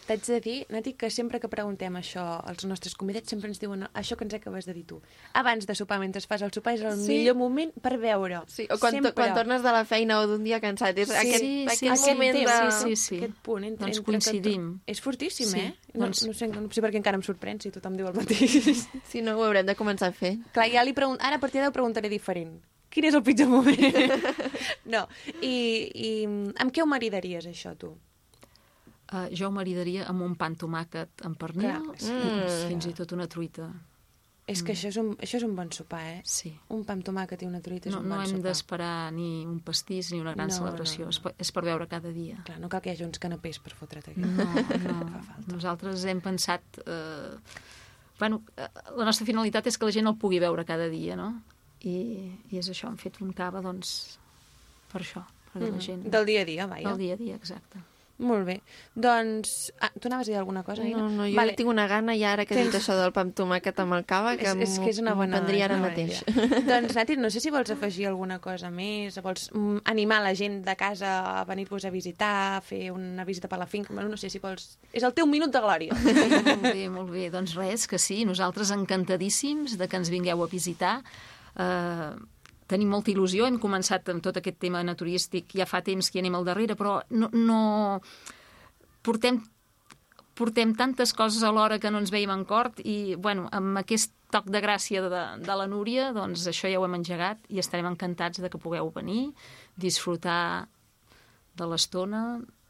T'haig de dir, Nati, que sempre que preguntem això als nostres convidats, sempre ens diuen això que ens acabes de dir tu. Abans de sopar, mentre fas el sopar, és el Sí. sí. millor moment per veure. Sí, o quan, to, Sempre. quan tornes de la feina o d'un dia cansat. És sí, aquest, sí, sí, aquest sí, moment sí, de... sí, sí. Aquest punt entre, Doncs entre que tu- coincidim. És fortíssim, Sí, eh? No, doncs- no, sé, no sé per què encara em sorprèn si tothom diu el mateix. Si no, ho haurem de començar a fer. Clar, ja li pregun... ara a partir d'ara ho preguntaré diferent. Quin és el pitjor moment? no. I, I amb què ho maridaries, això, tu? Uh, jo ho maridaria amb un pa amb tomàquet amb pernil, Clar, sí. mm. fins i tot una truita. És Mm. que això és, un, això és un bon sopar, eh? Sí. Un pa amb tomàquet i una truita és No, un no bon hem sopar. d'esperar ni un pastís ni una gran No, no, celebració, no. és per- és per veure cada dia. Clar, no cal que hi hagi uns canapés per fotre't aquí. No, Fa no. falta. Nosaltres hem pensat... Eh, bueno, eh, la nostra finalitat és que la gent el pugui veure cada dia, no? I, i és això, hem fet un cava, doncs, per això, per mm -hmm. la gent. Del dia a dia, vaja. Del dia a dia, exacte. Molt bé. Doncs... Ah, tu anaves a dir alguna cosa, Aina? No, no, jo vale. tinc una gana i ara que he dit això del pa amb tomàquet amb el cava que És, és que és una m'ho bona... prendria ara una bona mateix. idea. doncs, Nati, no sé si vols afegir alguna cosa més, vols mm, animar la gent de casa a venir-vos a visitar, a fer una visita per la finca, bueno, no sé si vols... És el teu minut de glòria. molt bé, molt bé. Doncs res, que sí, nosaltres encantadíssims de que ens vingueu a visitar. Eh, tenim molta il·lusió, hem començat amb tot aquest tema naturístic, ja fa temps que hi anem al darrere, però no, no... Portem, portem tantes coses a l'hora que no ens veiem en cort i, bueno, amb aquest toc de gràcia de, de la Núria, doncs això ja ho hem engegat i estarem encantats de que pugueu venir, disfrutar de l'estona,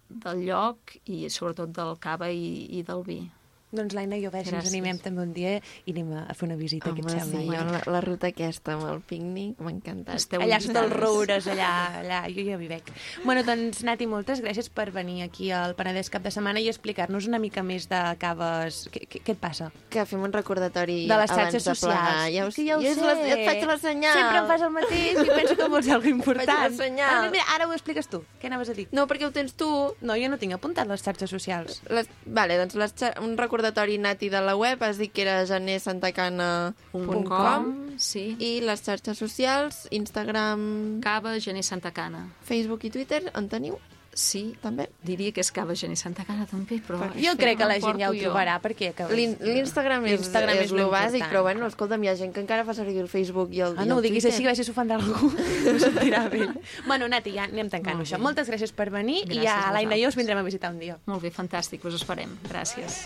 del lloc i sobretot del cava i, i del vi. doncs, l'Aina i jo, a veure si ens Gràcies. animem també un dia i anem a a fer una visita, què Home, et sembla? sí, jo, la, la ruta aquesta amb el pícnic m'ha encantat. Esteu Allà sota els invitades. roures, allà, allà, jo ja hi veig. Bueno, doncs, Nati, moltes gràcies per venir aquí al Penedès cap de setmana i explicar-nos una mica més de caves... Què, què, què et passa? Que fem un recordatori De les abans xarxes de plegar. socials. Ja ho, Que ja ho jo us la- sé. Et faig la senyal. Sempre em fas el mateix i penso que vols dir alguna important. Faig la senyal. Ah, mira, ara ho expliques tu. Què anaves a dir? No, perquè ho tens tu. No, jo no tinc apuntat les xarxes socials. Les... Vale, doncs les xar... un recordatori nati de la web, has dit que era un janersantacana.com com, sí. I i les xarxes socials, Instagram, Cava Gener Santa Cana. Facebook i Twitter, en teniu Sí, també? diria que és Cava Gener Santa Cana també, però... és Jo que crec que no la em gent ja ho porto jo. trobarà, perquè... acabes- L'in- L'Instagram és, L'Instagram és, és és lo lo bàsic, important. però bueno, escolta'm, hi ha gent que encara fa servir el Facebook i el, Ah, i no ho el diguis així, Twitter. que vaig s'ofendrà algú. No sentirà bé. Bueno, Nati, ja anem tancant això. Moltes gràcies per venir Gràcies i a a l'Aina i jo vosaltres. us vindrem a visitar un dia. Molt bé, fantàstic, us esperem. Gràcies.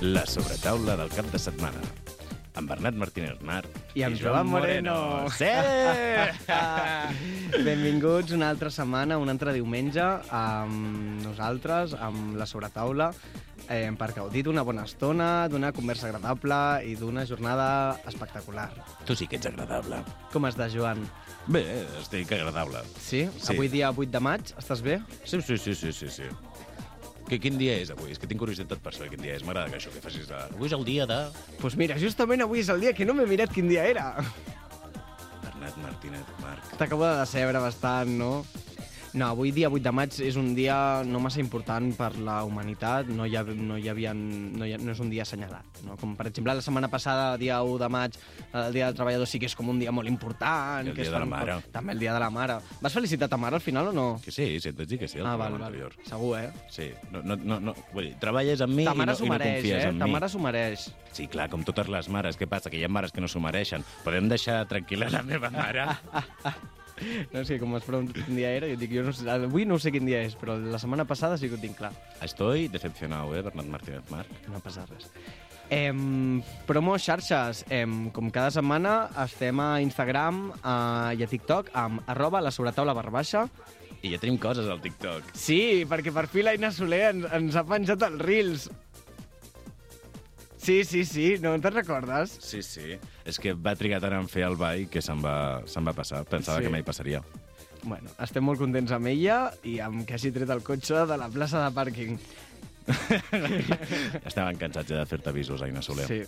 La sobretaula del cap de setmana. Amb Bernat Martínez Arnart I amb Joan Moreno. Sí! Ah. Benvinguts una altra setmana, un altre diumenge, amb nosaltres, amb la sobretaula, eh, per gaudir d'una bona estona, d'una conversa agradable i d'una jornada espectacular. tu sí que ets agradable. Com estàs, Joan? Bé, estic agradable. Sí? Sí. Avui dia 8 de maig, estàs bé? Sí, sí, sí, sí, sí, sí. Que, quin dia és avui? És que tinc curiositat per saber quin dia és. M'agrada que això que facis de... Avui és el dia de... Doncs pues mira, justament avui és el dia que no m'he mirat quin dia era. Bernat Martínez Marc. T'acabo de decebre bastant, no? No, avui dia 8 de maig és un dia no massa important per la humanitat, no hi, ha, no hi havia, no, hi ha, no és un dia assenyalat. No? Com per exemple la setmana passada, dia 1 de maig, el dia del treballador sí que és com un dia molt important. I el que dia es de la fan mare. cos- També el dia de la mare. Vas felicitar ta mare al final o no? Que sí, si et vaig dir que sí, al ah, programa anterior. Segur, eh? Sí, no, no, no, no. Vull dir, treballes amb mi Ta i no, i mare s'ho no mereix, confies eh? en Ta mi. mare s'ho mereix. Sí, clar, com totes les mares. Què passa? Que hi ha mares que no s'ho mereixen. Podem deixar tranquil·la la meva mare? No sé, com es pregunta quin dia era, jo dic, jo no sé, avui no sé quin dia és, però la setmana passada sí que ho tinc clar. Estoy decepcionado, eh, Bernat Martínez Marc. No passa res. Em, promo xarxes. Em, com cada setmana estem a Instagram eh, i a TikTok amb arroba la sobretaula barra baixa. I ja tenim coses al TikTok. Sí, perquè per fi la Ina Soler ens, ens ha penjat els reels. Sí, sí, sí, no te'n recordes? Sí, sí. És que va trigar tant en fer el ball que se'n va, se'n va passar. Pensava Sí. sí. que mai passaria. Bueno, estem molt contents amb ella i amb que hagi tret el cotxe de la plaça de pàrquing. Estaven cansats ja de fer-te avisos, Aina Soler. Sí.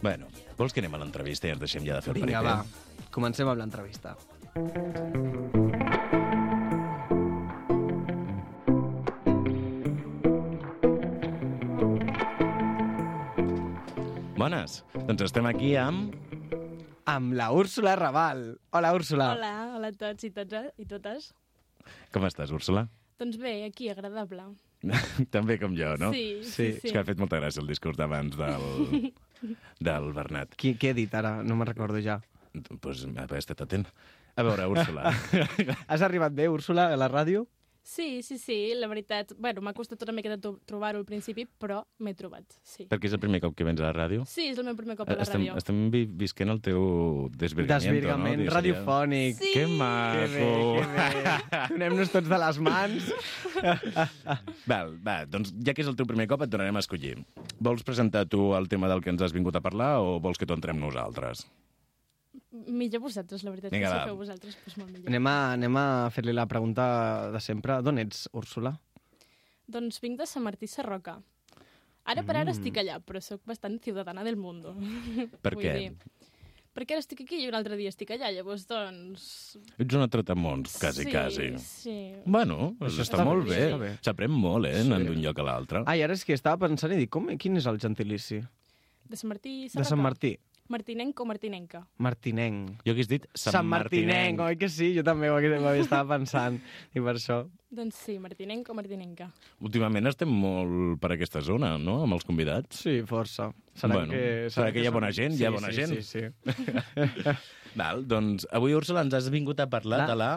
Bueno, vols que anem a l'entrevista i ens deixem ja de fer el Vinga, va, paripé? comencem amb l'entrevista. Bones, doncs estem aquí amb... Amb la Úrsula Raval. Hola, Úrsula. Hola, hola a tots i, tots, eh, i totes. Com estàs, Úrsula? Doncs bé, aquí, agradable. També com jo, no? Sí, sí, sí. És que ha fet molta gràcia el discurs d'abans del, del Bernat. Qui, què he dit ara? No me'n recordo ja. Doncs pues, haver estat atent. A veure, Úrsula, Ah. Has arribat bé, Úrsula, a la ràdio? Sí, sí, sí, la veritat... Bueno, m'ha costat una miqueta to- trobar-ho al principi, però m'he trobat, sí. perquè és el primer cop que vens a la ràdio. Sí, és el meu primer cop a la Estem, ràdio. estem vi visquent el teu desvirgamiento, Desvirgament no? Dius, radiofònic. Sí. Que Que bé, maco! que bé. Donem-nos tots de les mans. Val, va, doncs ja que és el teu primer cop et donarem a escollir. Vols presentar tu el tema del que ens has vingut a parlar o vols que t'ho entrem nosaltres? Millor vosaltres, la veritat. Vinga, va. Vinga, si ho feu vosaltres, doncs molt millor. Anem a, anem a fer-li la pregunta de sempre. D'on ets, Úrsula? Doncs vinc de Sant Martí Sarroca. Ara per ara Mm. estic allà, però sóc bastant ciutadana del mundo. Per Vull què? dir, perquè ara estic aquí i un altre dia estic allà, llavors, doncs... Ets una tratamons, quasi, sí, quasi. Sí, Bueno, Això està, està molt bé, bé. està bé. S'aprèn molt, eh, anant Sí. d'un lloc a l'altre. Ai, ara és que estava pensant i dic, com, quin és el gentilici? De Sant Martí Sarroca. De Sant Martí. Martinenc o martinenca. Martinenc. Jo hagués dit Sant, Sant Martinenc, oi que sí? Jo també ho hagués- ho estava pensant. I per això... Doncs sí, martinenc o martinenca. Últimament estem molt per aquesta zona, no?, amb els convidats. Sí, força. Serà Bueno, que, serà que hi ha som- bona gent, hi ha bona sí, gent. Sí, sí, sí. Val, doncs avui, Úrsula, ens has vingut a parlar La- de la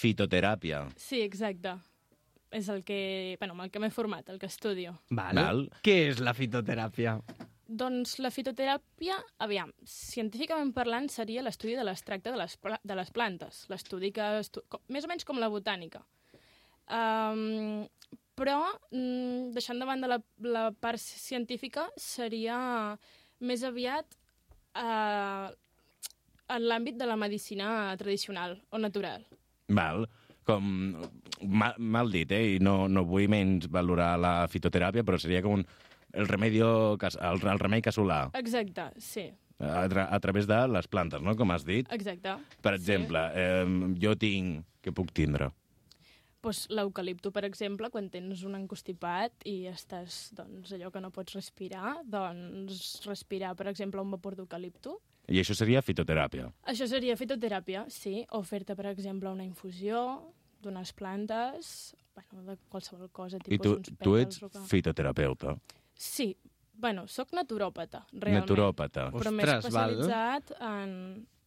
fitoteràpia. Sí, exacte. És el que, bueno, amb el que m'he format, el que estudio. Val. Val. Què és la fitoteràpia? Doncs la fitoteràpia, aviam, científicament parlant seria l'estudi de l'extracte de, les pla- de les plantes, l'estudi que... Estu com, més o menys com la botànica. Um, però, mm, deixant davant de la, la part científica, seria més aviat uh, en l'àmbit de la medicina tradicional o natural. Val, com... Mal, mal dit, eh? I no, no vull menys valorar la fitoteràpia, però seria com un, el, remedio, cas- el, el remei casolà Exacte, sí, a, tra a través de les plantes, no?, com has dit. exacte. Per exemple, eh, jo tinc... Què puc tindre? pues, l'eucalipto, per exemple, quan tens un encostipat i estàs, doncs, allò que no pots respirar, doncs, respirar, per exemple, un vapor d'eucalipto. I això seria fitoteràpia. Això seria fitoteràpia, sí, o fer-te, per exemple, una infusió d'unes plantes, bueno, de qualsevol cosa, I tipus tu, uns tu pètals ets o que... fitoterapeuta, Sí, bueno, sóc naturòpata, realment. naturòpata. Però m'he Ostres, val. eh? especialitzat en,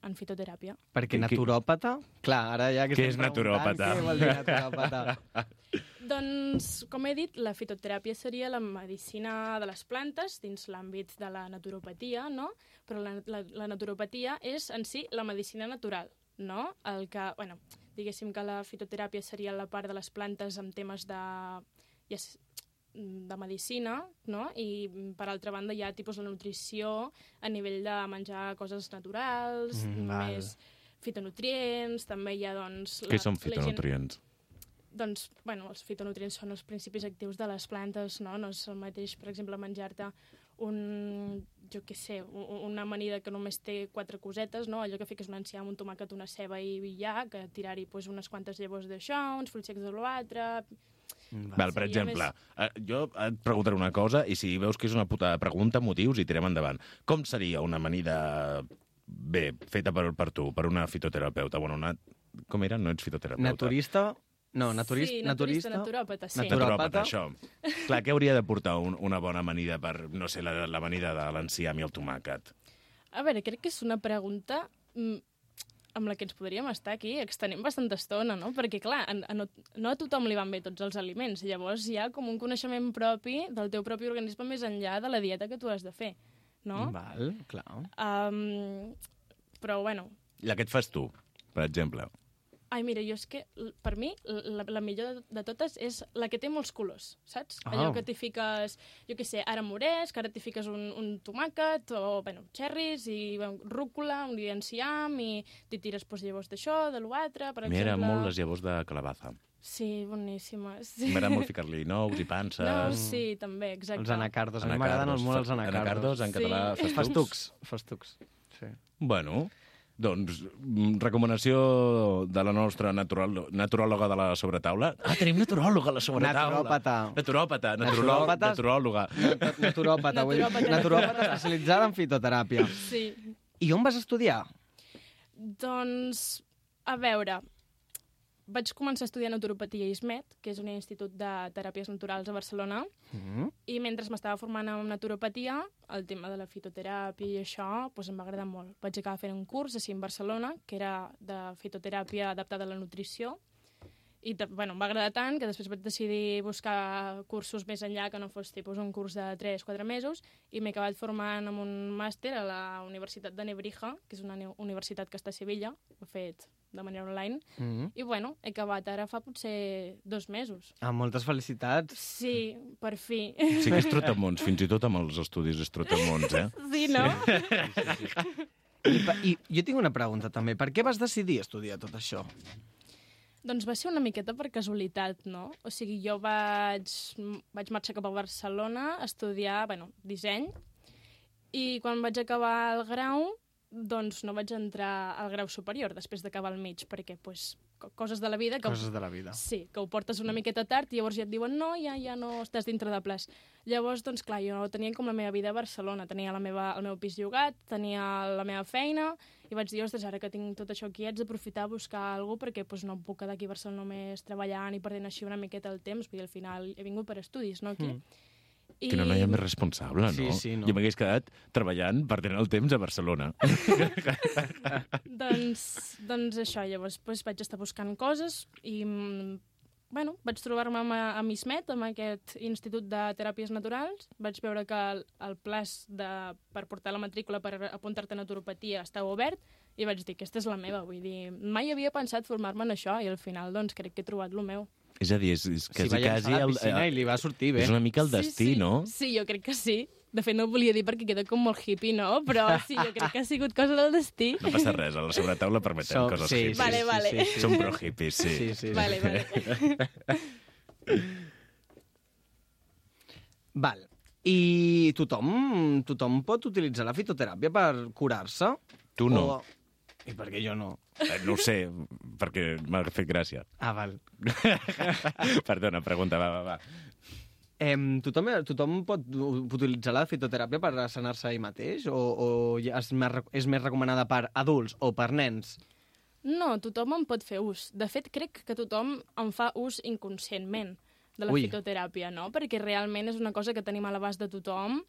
en fitoteràpia. Perquè Qui- qui- naturòpata... Clar, ara ja que Què estem és naturòpata? preguntant Què vol dir naturòpata? Doncs, com he dit, la fitoteràpia seria la medicina de les plantes dins l'àmbit de la naturopatia, no? Però la, la, la naturopatia és en si la medicina natural, no? El que, bueno, diguéssim que la fitoteràpia seria la part de les plantes amb temes de, ja s- de medicina, no? I, mm, per altra banda, hi ha tipus de nutrició a nivell de menjar coses naturals, Mm, mm, val. més fitonutrients, també hi ha, doncs... Què són la gent- fitonutrients? doncs, bueno, els fitonutrients són els principis actius de les plantes, no? No és el mateix, per exemple, menjar-te un, jo què sé, u- una amanida que només té quatre cosetes, no? allò que fiques un enciam, un tomàquet, una ceba i ja, que tirar-hi pues, unes quantes llavors d'això, uns fruits secs de l'altre... Mm. Val, per Sí, a exemple, eh, jo et preguntaré una cosa i si veus que és una puta pregunta, motius i tirem endavant. Com seria una amanida bé feta per, per tu, per una fitoterapeuta? Bueno, una... Com era? No ets fitoterapeuta. Naturista? No, naturist, Sí, naturista, naturista, naturòpata, sí. Naturòpata, això. Clar, què hauria de portar un, una bona amanida per, no sé, la- l'amanida de l'enciam i el tomàquet? A veure, crec que és una pregunta mm, amb la que ens podríem estar aquí extenent bastanta estona, no? Perquè, clar, a, a no, no a tothom li van bé tots els aliments. Llavors hi ha com un coneixement propi del teu propi organisme més enllà de la dieta que tu has de fer, no? Val, clar. Um, però, bueno, La que et fas tu, per exemple. ai, mira, jo és que, l- per mi, l- la, la millor de- de totes és la que té molts colors, saps? Ah. Allò que t'hi fiques, jo què sé, ara moresc, ara t'hi fiques un, un tomàquet, o, bueno, xerris, i bueno, rúcula, un dia enciam, i t'hi tires pues, llavors d'això, de l'altre, per M'agraden exemple. molt les llavors de calabaza. Sí, boníssimes. Sí. M'agrada molt ficar-li nous i panses. No, sí, també, exacte. Els anacardos. A mi m'agraden Anacardos. molt els Fa- anacardos. Anacardos, en Sí. català, Fes festucs. Festucs, festucs. Sí. Bueno, doncs, mm, recomanació de la nostra natural, naturòloga de la sobretaula. Ah, tenim naturòloga a la sobretaula. Naturòpata. Naturòpata, naturòloga, Naturòpates. naturòloga. Nat- Naturòpata, vull dir, Naturòpata. naturòpata especialitzada en fitoteràpia. Sí. I on vas estudiar? Doncs, a veure, vaig començar a estudiar naturopatia a ISMET, que és un institut de teràpies naturals a Barcelona, Mm. i mentre m'estava formant en naturopatia, el tema de la fitoteràpia i això doncs em va agradar molt. Vaig acabar fent un curs així a Barcelona, que era de fitoteràpia adaptada a la nutrició, i ta- bueno, em va agradar tant que després vaig decidir buscar cursos més enllà que no fos tipus un curs de 3-4 mesos i m'he acabat formant amb un màster a la Universitat de Nebrija, que és una ni- universitat que està a Sevilla, ho he fet de manera online, Mm. Mm-hmm. i bueno, he acabat ara fa potser dos mesos. Ah, moltes felicitats. Sí, per fi. Sí que és trotamons, fins i tot amb els estudis és trotamons, eh? Sí, no? I, pa- I jo tinc una pregunta també. Per què vas decidir estudiar tot això? Doncs va ser una miqueta per casualitat, no? O sigui, jo vaig, vaig marxar cap a Barcelona a estudiar, bueno, disseny, i quan vaig acabar el grau, doncs no vaig entrar al grau superior després d'acabar el mig, perquè, pues, co- coses de la vida que... Coses de la vida. Sí, que ho portes una miqueta tard i llavors ja et diuen no, ja, ja no estàs dintre de plaç. Llavors, doncs clar, jo tenia com la meva vida a Barcelona, tenia la meva, el meu pis llogat, tenia la meva feina i vaig dir, ostres, ara que tinc tot això aquí haig d'aprofitar a buscar alguna perquè doncs, no em puc quedar aquí a Barcelona només treballant i perdent així una miqueta el temps, vull dir, al final he vingut per estudis, no, aquí. Mm. I... Quina noia més responsable, no? Sí, sí, no. Jo m'hagués quedat treballant, perdent el temps a Barcelona. doncs, doncs això, llavors doncs vaig estar buscant coses i mm, bueno, vaig trobar-me amb, a Mismet, amb aquest Institut de Teràpies Naturals. Vaig veure que el, el plaç de, per portar la matrícula per apuntar-te a naturopatia estava obert i vaig dir, aquesta és la meva. Vull dir, mai havia pensat formar-me en això i al final doncs, crec que he trobat el meu. És a dir, és, és quasi, si va llançar quasi... a la piscina i li va sortir bé. és una mica el destí, sí. no? Sí, jo crec que sí. De fet, no ho volia dir perquè queda com molt hippie, no? Però sí, jo crec que ha sigut cosa del destí. No passa res, a la sobretaula permetem Som- coses sí, hippies. Vale, vale. Sí, sí, sí. Som pro hippies, sí. Sí, sí. Vale, vale. Val. I tothom, tothom pot utilitzar la fitoteràpia per curar-se? Tu no. O... I per què jo no? Eh, No ho sé, perquè m'ha fet gràcia. Ah, val. Perdona, pregunta, va, va, va. Em, tothom, eh, tothom pot u- utilitzar la fitoteràpia per sanar-se ell mateix? O, o ja és, més, rec- és més recomanada per adults o per nens? No, tothom en pot fer ús. De fet, crec que tothom en fa ús inconscientment de la Ui. fitoteràpia, no? Perquè realment és una cosa que tenim a l'abast de tothom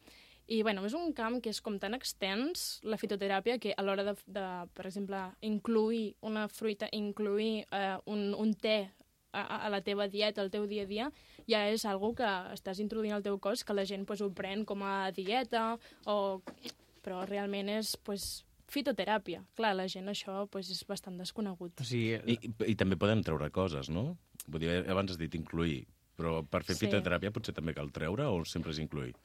i, bueno, és un camp que és com tan extens, la fitoteràpia, que a l'hora de, de, per exemple, incluir una fruita, incluir eh, un, un te a, a- a la teva dieta, al teu dia a dia, ja és algo que estàs introduint al teu cos, que la gent pues, ho pren com a dieta, o... però realment és pues, fitoteràpia. Clar, la gent això pues, és bastant desconegut. O sigui, I, i- I també podem treure coses, no? Vull dir, abans has dit incluir, però per fer Sí. fitoteràpia potser també cal treure o sempre és incluir?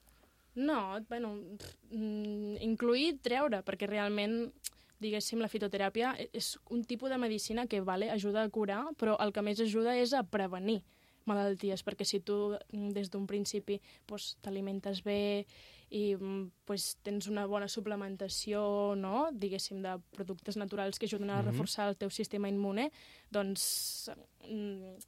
No, bueno, pff, mm, incluir i treure, perquè realment, diguéssim, la fitoteràpia e- és un tipus de medicina que, vale, ajuda a curar, però el que més ajuda és a prevenir malalties, perquè si tu mm, des d'un principi pues, t'alimentes bé i mm, pues, tens una bona suplementació, no? diguéssim, de productes naturals que ajuden a Mhm. reforçar el teu sistema immune, doncs mm,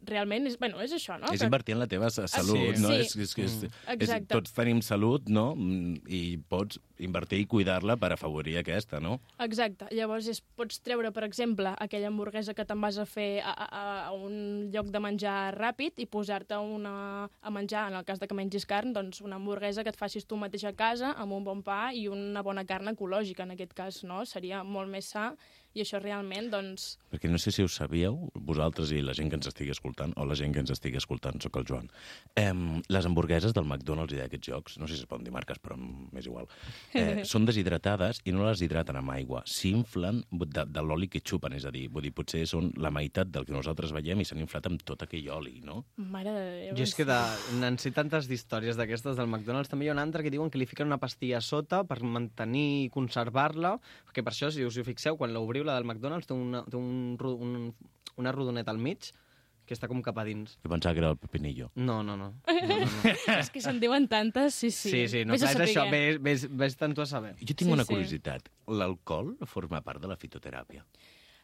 realment és, bueno, és això, no? És Que- invertir en la teva sa- salut, sí. no? Sí. És, és, és, Mm. és, Exacte. tots tenim salut, no? Mm, I pots invertir i cuidar-la per afavorir aquesta, no? Exacte. Llavors és, pots treure, per exemple, aquella hamburguesa que te'n vas a fer a, a, a un lloc de menjar ràpid i posar-te una, a menjar, en el cas de que mengis carn, doncs una hamburguesa que et facis tu mateix a casa amb un bon pa i una bona carn ecològica, en aquest cas, no? Seria molt més sa i això realment, doncs... Perquè no sé si ho sabíeu, vosaltres i la gent que ens estigui escoltant, o la gent que ens estigui escoltant, sóc el Joan. Em, les hamburgueses del McDonald's i d'aquests jocs, no sé si es poden dir marques, però mm, m'és igual, eh, són deshidratades i no les hidraten amb aigua. S'inflen de, de l'oli que xupen, és a dir, vull dir, potser són la meitat del que nosaltres veiem i s'han inflat amb tot aquell oli, no? Mare de Déu. Jo és que de, en sé tantes d'històries d'aquestes del McDonald's, també hi ha una altra que diuen que li fiquen una pastilla a sota per mantenir i conservar-la, perquè per això, si us hi fixeu, quan l'obriu, la del McDonald's té, una, té un, ro- un, una rodoneta al mig que està com cap a dins. Jo pensava que era el pepinillo. No, no, no. és que se'n diuen tantes, sí, sí. Sí, sí, no, Vés a clar, és això, saber. vés, vés, vés tant tu a saber. Jo tinc Sí, sí, una sí. curiositat. L'alcohol forma part de la fitoteràpia.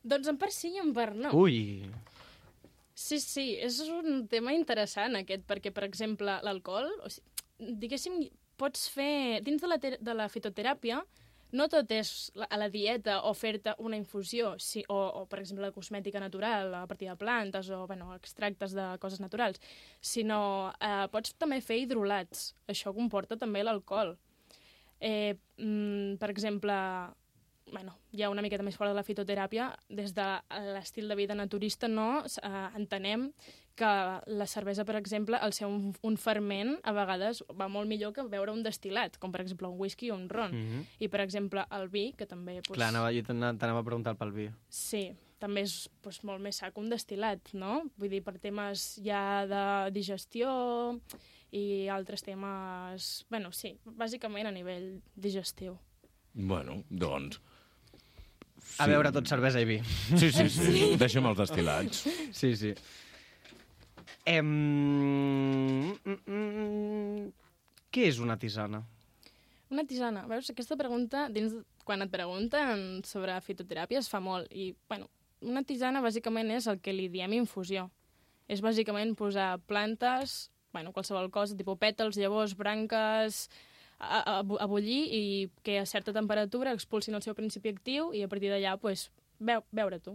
Doncs en part sí i en part no. Ui, Sí, sí, és un tema interessant aquest, perquè, per exemple, l'alcohol, o sigui, diguéssim, pots fer... Dins de la, ter- de la fitoteràpia no tot és la, a la dieta o fer-te una infusió, si, o, o, per exemple, la cosmètica natural a partir de plantes o bueno, extractes de coses naturals, sinó eh, pots també fer hidrolats. Això comporta també l'alcohol. Eh, mm, per exemple, bueno, ja una miqueta més fora de la fitoteràpia, des de eh, l'estil de vida naturista no S- eh, entenem que la cervesa, per exemple, al ser un, un ferment, a vegades va molt millor que beure un destil·lat, com per exemple un whisky o un ron. Mhm. I per exemple el vi, que també... Doncs, clar, anava, jo t'ana- t'anava a preguntar pel vi. Sí, també és doncs, molt més sa que un destil·lat, no? Vull dir, per temes ja de digestió i altres temes... bueno, sí, bàsicament a nivell digestiu. Bueno, doncs... A Sí. veure tot cervesa i vi. Sí, sí, sí. Deixa'm els destilats. Sí, sí. Em... mm, mm, Què és una tisana? Una tisana. Veus, aquesta pregunta, dins, quan et pregunten sobre fitoteràpia, es fa molt. I, bueno, una tisana bàsicament és el que li diem infusió. És bàsicament posar plantes, bueno, qualsevol cosa, tipus pètals, llavors, branques, a, a, a bullir i que a certa temperatura expulsin el seu principi actiu i a partir d'allà, pues, veu, veure-t'ho.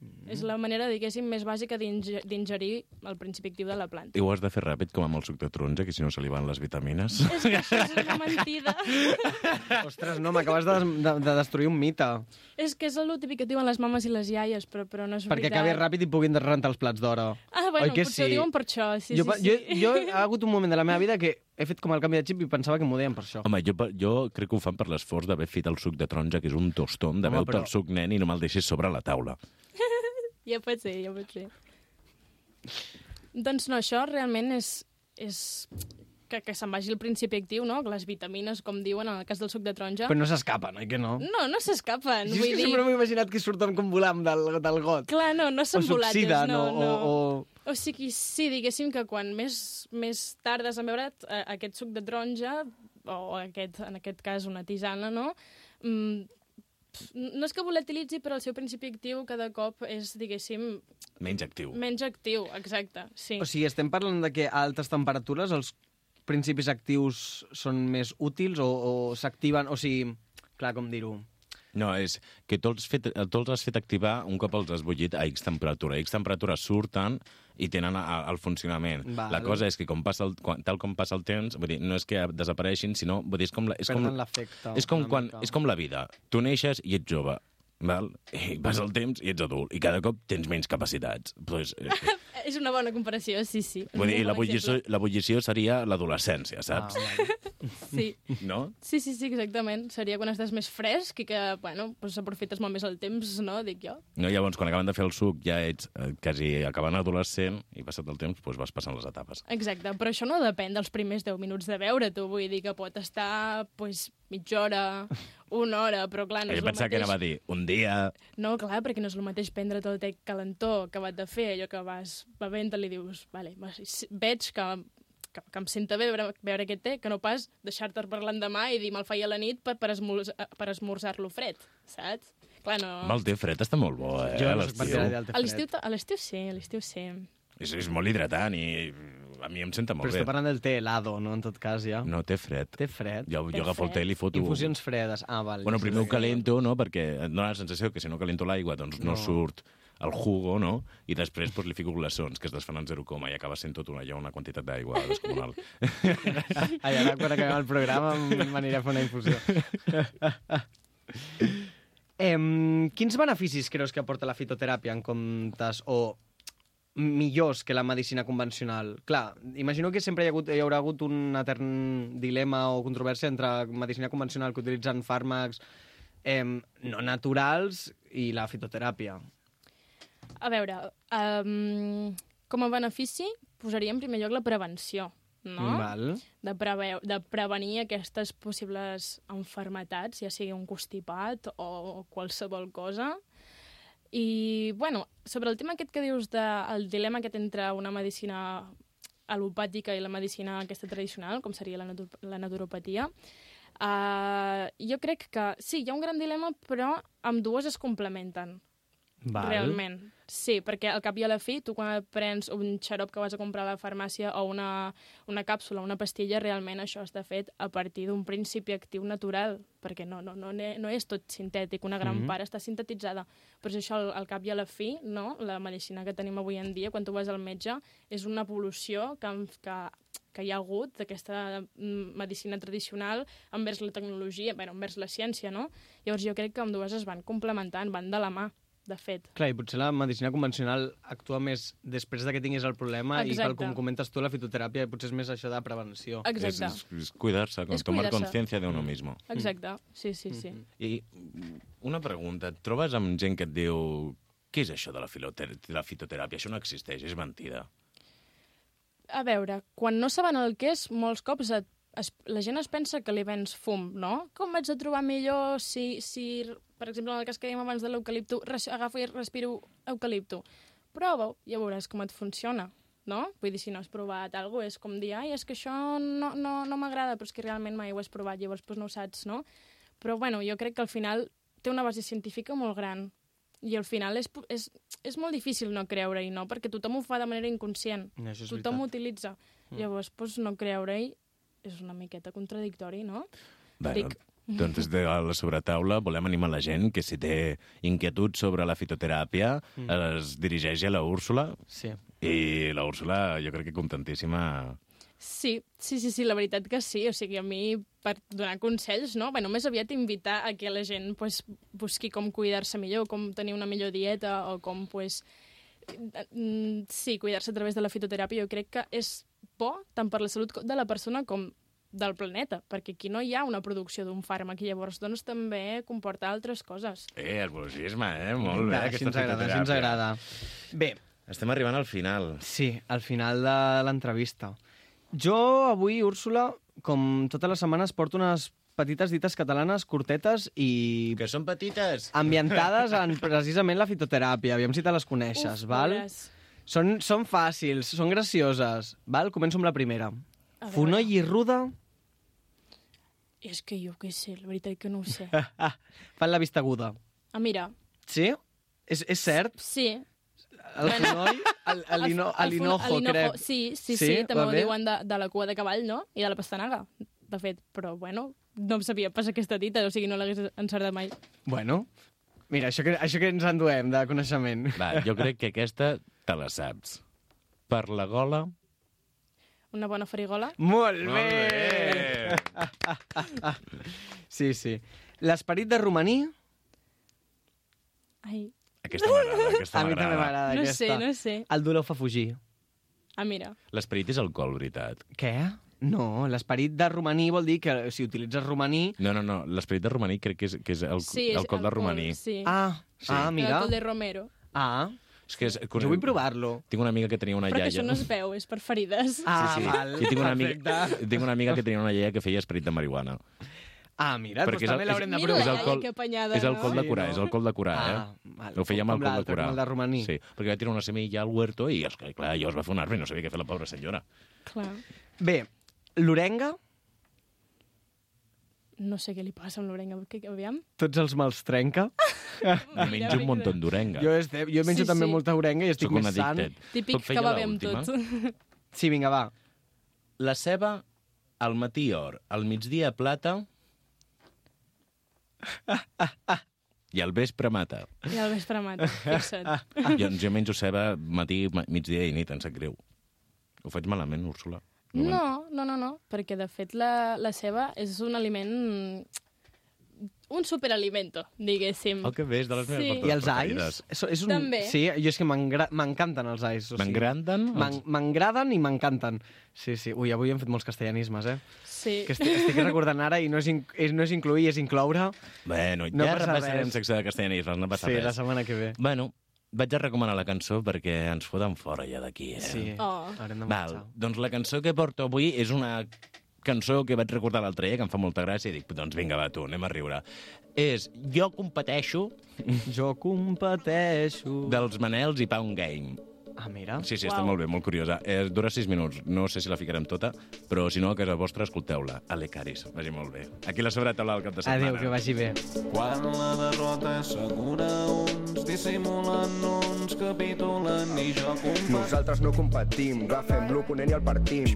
Mm-hmm. Mm. És la manera, diguéssim, més bàsica d'inge- d'ingerir el principi actiu de la planta. I ho has de fer ràpid, com amb el suc de taronja, que si no se li van les vitamines. És que això és una mentida. Ostres, no, m'acabes de, de, de destruir un mite. És que és el típic que et diuen les mames i les iaies, però, però no és Perquè veritat. acabi ràpid i puguin rentar els plats d'hora. Ah, bueno, Oi que potser sí? ho diuen per això, sí, jo, sí, sí. Jo, jo he hagut un moment de la meva vida que he fet com el canvi de xip i pensava que m'ho deien per això. Home, jo, pe- jo crec que ho fan per l'esforç d'haver fet el suc de taronja, que és un tostom, de Home, veure però... però- el suc nen i no me'l deixis sobre la taula. Ja pot ser, ja pot ser. Doncs no, això realment és... és que, que se'n vagi el principi actiu, no? Que Les vitamines, com diuen en el cas del suc de taronja... Però no s'escapen, oi que no? No, no s'escapen. Jo és Vull que dir... sempre m'he imaginat que surten com volant del, del got. Clar, no, no O són volates. s'oxiden, no, o, no. o, o... O sigui, sí, diguéssim que quan més, més tardes en beure eh, aquest suc de taronja, o aquest, en aquest cas una tisana, no? Mm, pf, no és que volatilitzi, però el seu principi actiu cada cop és, diguéssim, Menys actiu. menys actiu, exacte, sí. O sigui, estem parlant de que a altes temperatures els principis actius són més útils o, o s'activen... O sigui, clar, com dir-ho... No, és que tu els, fet, tu els has fet activar un cop els has bullit a X temperatura. A X temperatura surten i tenen a, a, el funcionament. Val. La cosa és que com passa el, quan, tal com passa el temps, vull dir, no és que desapareixin, sinó... Vull dir, és com la, és com, Perden l'efecte, és, com una quan, mica. és com la vida. Tu neixes i ets jove. Val? I passa el temps i ets adult. I cada cop tens menys capacitats. Pues, eh, És una bona comparació, sí, sí. És vull un dir, la bon exemple. bullició, la bullició seria l'adolescència, saps? Ah, Sí. Ah. No? sí, sí, sí, exactament. Seria quan estàs més fresc i que, bueno, doncs aprofites molt més el temps, no?, dic jo. No, llavors, quan acaben de fer el suc, ja ets eh, quasi acabant adolescent i passat el temps, doncs vas passant les etapes. Exacte, però això no depèn dels primers 10 minuts de veure-t'ho, vull dir que pot estar pues, mitja hora Una hora, però clar, no Jo és el pensava que anava a mateix. Oh. dir, un dia... No, clar, perquè no és el mateix prendre tot el té calentó que va de fer, allò que vas bevent i li dius, vale, va, si- veig que, que, que em senta bé veure, veure aquest té, que no pas deixar-te per l'endemà i dir me'l faia a la nit per, per, esmorz, per esmorzar-lo fred, saps? Clar, no. Home, el té fred està molt bo, eh? a Jo no soc partidari l'estiu. del té A l'estiu fred. ta- a l'estiu sí, a l'estiu sí. És, és molt hidratant i a mi em senta Però molt estic bé. parlant del té helado, no? En tot cas, ja. No, té fred. Té fred. Jo, jo agafo el té i li foto... Infusions fredes. Ah, val. Bueno, Sí, primer ho sí. calento, no?, perquè et dóna la sensació que si no calento l'aigua doncs no, No. no surt el jugo, no? I després doncs, li fico glaçons, que es desfan en 0, i acaba sent tot una, ja una quantitat d'aigua descomunal. Ai, ara quan acabem el programa em- m'aniré a fer una infusió. Em, quins beneficis creus que aporta la fitoteràpia en comptes o millors que la medicina convencional? Clar, imagino que sempre hi, ha hagut, hi haurà hagut un etern dilema o controvèrsia entre medicina convencional que utilitzen fàrmacs em, no naturals i la fitoteràpia. A veure, um, com a benefici posaria en primer lloc la prevenció, no? Val. de, preveu, de prevenir aquestes possibles enfermetats, ja sigui un constipat o qualsevol cosa. I, bueno, sobre el tema aquest que dius del dilema aquest entre una medicina alopàtica i la medicina aquesta tradicional, com seria la, natu la naturopatia, uh, jo crec que sí, hi ha un gran dilema, però amb dues es complementen. Val. Realment, sí, perquè al cap i a la fi, tu quan prens un xarop que vas a comprar a la farmàcia o una, una càpsula, una pastilla, realment això està fet a partir d'un principi actiu natural, perquè no, no, no, ne- no és tot sintètic, una gran mm Mhm. -hmm. part està sintetitzada. Però és això, al, al cap i a la fi, no? la medicina que tenim avui en dia, quan tu vas al metge, és una evolució que, han- que que hi ha hagut d'aquesta mm, medicina tradicional envers la tecnologia, bueno, envers la ciència, no? Llavors jo crec que amb dues es van complementant, van de la mà, de fet. Clar, i potser la medicina convencional actua més després de que tinguis el problema i tal Exacte. com comentes tu, la fitoteràpia potser és més això de prevenció. és, Exacte, és, és cuidar-se, com És tomar cuidar-se. consciència de uno mismo. exacte. Sí, sí, sí. I mm, una pregunta, et trobes amb gent que et diu què és això de la, filoter de la fitoteràpia? Això no existeix, és mentida. A veure, quan no saben el que és, molts cops et, es, la gent es pensa que li vens fum, no? Com vaig a trobar millor si, si per exemple, en el cas que dèiem abans de l'eucalipto, res- agafo i respiro eucalipto. Prova-ho, ja veuràs com et funciona, no? Vull dir, si no has provat alguna cosa, és com dir, ai, és que això no, no, no m'agrada, però és que realment mai ho has provat, llavors doncs no ho saps, no? Però, bueno, jo crec que al final té una base científica molt gran. I al final és, po- és, és molt difícil no creure-hi, no? Perquè tothom ho fa de manera inconscient No, això és tothom ho veritat. Mm. utilitza. Llavors, doncs, no creure-hi és una miqueta contradictori, no? Bueno, Dic. doncs des de la sobretaula volem animar la gent que si té inquietud sobre la fitoteràpia mm. es dirigeix a la Úrsula Sí. i la Úrsula jo crec que contentíssima Sí, sí, sí, sí, la veritat que sí. O sigui, a mi, per donar consells, no? Bé, més aviat invitar a que la gent pues, busqui com cuidar-se millor, com tenir una millor dieta o com, pues, mm, sí, cuidar-se a través de la fitoteràpia. Jo crec que és bo tant per la salut co- de la persona com del planeta, perquè aquí no hi ha una producció d'un fàrmac i llavors doncs també comporta altres coses. Eh, el bolsisme, eh? Molt bé, Va, aquesta així ens agrada, així ens fitoteràpia. agrada. Bé, Estem arribant al final. sí, al final de l'entrevista. Jo avui, Úrsula, com tota totes les setmanes, porto unes petites dites catalanes curtetes i Que són petites. ambientades en precisament la fitoteràpia. Aviam si te les coneixes, val? pobres. Són, són fàcils, són gracioses, val? Començo amb la primera. veure. Fonoll i ruda És que jo què sé, la veritat que no ho sé. Ah, fan la vista aguda. Ah, mira, Sí? És, és cert? sí. El Bueno. fonoll, el, el, lino, el, fon- linojo, el crec. Sí, Sí? sí, sí, sí també Va ho bé? diuen de, de la cua de cavall, no? I de la pastanaga, de fet. Però, bueno, no em sabia pas aquesta dita, o sigui, no l'hagués encertat mai. Bueno, mira, això que, això que ens enduem de coneixement. Va, jo crec que aquesta te la saps. Per la gola... Una bona farigola. Molt bé! Eh. Sí, sí. L'esperit de romaní, Ai, Aquesta m'agrada, aquesta a mi també m'agrada. m'agrada no aquesta. sé, no sé. El dolor fa fugir. Ah, mira. L'esperit és alcohol, veritat. Què? No, l'esperit de romaní vol dir que si utilitzes romaní... No, no, no, l'esperit de romaní crec que és, que és el, Sí, és alcohol de romaní. Sí. Ah, Sí. ah, mira. L'alcohol de Romero. Ah, És que és, jo vull provar-lo. Tinc una amiga que tenia una Però que iaia... això no es veu, és per ferides. Ah, Sí, sí. val. Jo tinc una, amiga, Perfecte. tinc una amiga que tenia una iaia que feia esperit de marihuana. Ah, mira, doncs Perquè és el- també l'haurem de Mira la és el provar. iaia col- que apanyada, és el col de Sí, curar, no? és el col de curar, Ah, eh? vale. Ho feia amb el Com col de l'altre, curar. com el de romaní. Sí, perquè va tirar una semilla al huerto i, és que, clar, jo es va fer un arbre i no sabia què fer la pobra senyora. Clar. Bé, l'orenga, No sé què li passa amb l'orenga, que, aviam. tots els mals trenca. Menjo un munt d'orenga. Jo, este, jo menjo Sí, també sí. molta orenga i estic Sóc un més sant. addicted. Típic Pot fer que jo bevem l'última? tots. Sí, vinga, va. La ceba, al matí or, al migdia plata i al vespre mata. I al vespre mata, fixa't. Jo, jo menjo ceba matí, ma- migdia i nit, em sap greu. Ho faig malament, Úrsula? men- No, no, no, no, perquè de fet la, la ceba és un aliment... un superalimento, diguéssim. Oh, que bé, és de les meves Mm. Sí. verdures I els ais? preferides. És, és un... També. Sí, jo és que m'engra- m'encanten els ais. O sigui, M'engranden els- m'en- M'engraden i m'encanten. Sí, sí. Ui, avui hem fet molts castellanismes, eh? Sí. Que estic, estic recordant ara i no és, in, és, no és incluir, és incloure. Bueno, No no ja passa repassarem res. secció de castellanismes, no passa sí, res. la setmana que ve. Bueno, vaig a recomanar la cançó perquè ens foten fora ja d'aquí, eh? Sí, Oh. haurem de Val, marxar. doncs la cançó que porto avui és una cançó que vaig recordar l'altre dia, que em fa molta gràcia, i dic, doncs vinga, va, tu, anem a riure. És Jo competeixo Jo competeixo... dels Manels i Pound Game. Ah, mira. Sí, sí, està molt bé, molt curiosa. Eh, dura 6 minuts, no sé si la ficarem tota, però si no, a casa vostra, escolteu-la. A l'Ecaris, vagi molt bé. Aquí la sobretaula del cap de setmana. Adéu, que vagi bé. Quan la derrota és segura, uns dissimulen, uns capitulen i jo compartim. Nosaltres no competim, agafem l'oponent i el partim.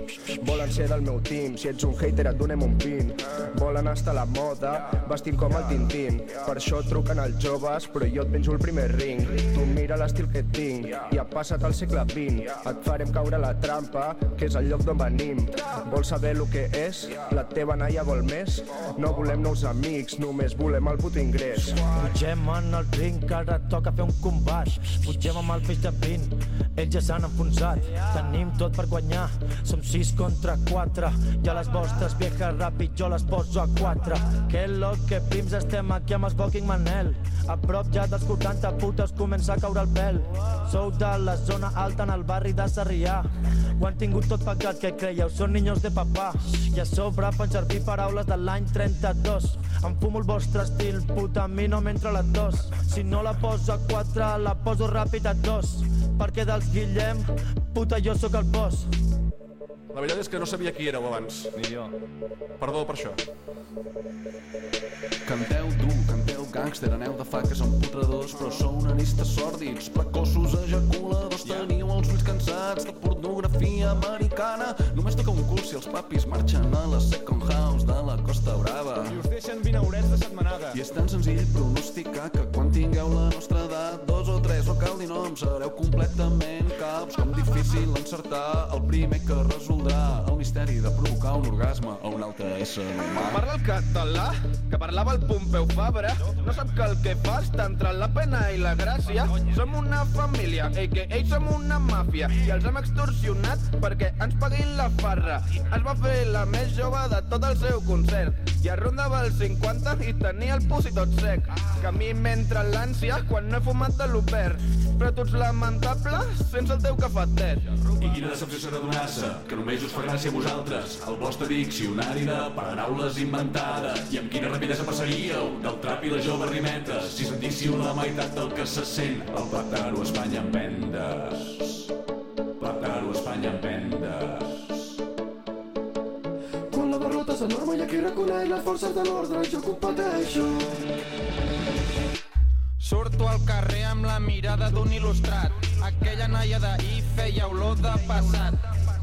Volen ser del meu team, si ets un hater et donem un pin. Volen estar a la moda, vestim com el Tintín. Per això truquen els joves, però jo et penjo el primer ring. Tu mira l'estil que tinc, i ha passat el segle XX. Et farem caure a la trampa, que és el lloc d'on venim. Vols saber el que és? La teva naia vol més? No volem nous amics, només volem el puto ingrés. Pugem en el ring, que ara toca fer un combat. Pugem amb el peix de 20, ells ja s'han enfonsat. Tenim tot per guanyar, som 6 contra 4. Ja les vostres viejas ràpid, jo les poso a 4. Que lo que prims estem aquí amb els fucking Manel. A prop ja dels 40 putes comença a caure el pèl. Sou de la zona alta en el barri de Sarrià. Ho han tingut tot pagat, que creieu? Són niños de papà. I a sobre fan servir paraules de l'any 32. Em fumo el vostre estil, puta, a mi no m'entra la tos. Si no la poso a 4, la poso ràpid a 2. Perquè dels Guillem, puta, jo sóc el boss. La veritat és que no sabia qui éreu abans. Ni jo. Perdó per això. Canteu dur, canteu gangster, aneu de faques amb putredors, però sou nanistes sòrdids, precoços ejaculadors, yeah. teniu els ulls cansats de pornografia americana. Només toca un cul si els papis marxen a la second house de la Costa Brava. I us deixen 20 haurets de setmanada. I és tan senzill pronosticar que quan tingueu la nostra edat, dos o tres, no cal dir noms, sereu completament caps. Com difícil encertar el primer que resoldrà el misteri de provocar un orgasme a un altre ésser humà. Parla el Ah! català, que parlava el Pompeu Fabra. No sap que el que fa està entre la pena i la gràcia. Som una família, ei, que ells som una màfia. I els hem extorsionat perquè ens paguin la farra. Es va fer la més jove de tot el seu concert. I arrondava els 50 i tenia el pus i tot sec. Que a mi m'entra l'ànsia quan no he fumat de l'Opert. Però tu ets lamentable sense el teu cafetet. I quina decepció s'ha de donar-se, que només us fa gràcia a vosaltres, el vostre diccionari de paraules inventades. I amb quina rapidesa passaríeu del trap i les joves rimetes, si sentíssiu la meitat del que se sent, el plàtano a Espanya en vendes. Plàtano a Espanya en vendes. Quan la derrota és enorme i aquí reconeix les forces de l'ordre, jo competeixo. Surto al carrer amb la mirada d'un il·lustrat. Aquella noia d'ahir feia olor de passat.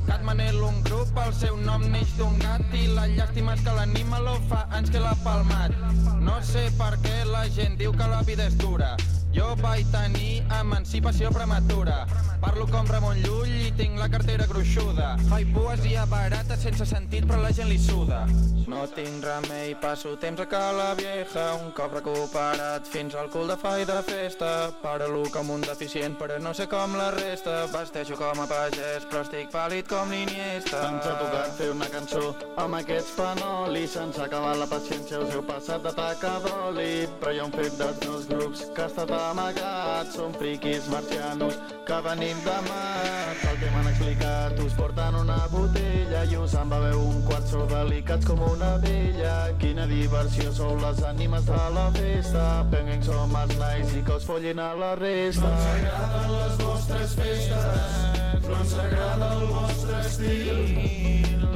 Catmanel, un grup, el seu nom neix d'un gat i la llàstima és que l'animalo fa anys que l'ha palmat. No sé per què la gent diu que la vida és dura. Jo vaig tenir emancipació prematura. Parlo com Ramon Llull i tinc la cartera gruixuda. Faig poesia barata sense sentit però la gent li suda. No tinc remei, passo temps a ca la vieja, un cop recuperat fins al cul de fai de festa. Parlo com un deficient, però no sé com la resta. Vesteixo com a pagès, però estic pàl·lid com l'Iniesta. Ens ha tocat fer una cançó amb aquests fenolis. Ens ha acabat la paciència, us heu passat de taca d'oli. Però hi ha un fet dels dos grups que ha estat amagat. Som friquis marcianos que venim de mar. El que m'han explicat ho Ells porten una botella i us en beveu un quart, sou delicats com una vella. Quina diversió, sou les ànimes de la festa. Penguin som els nais i que us follin a la resta. No ens agraden les vostres festes, no ens agrada el vostre estil,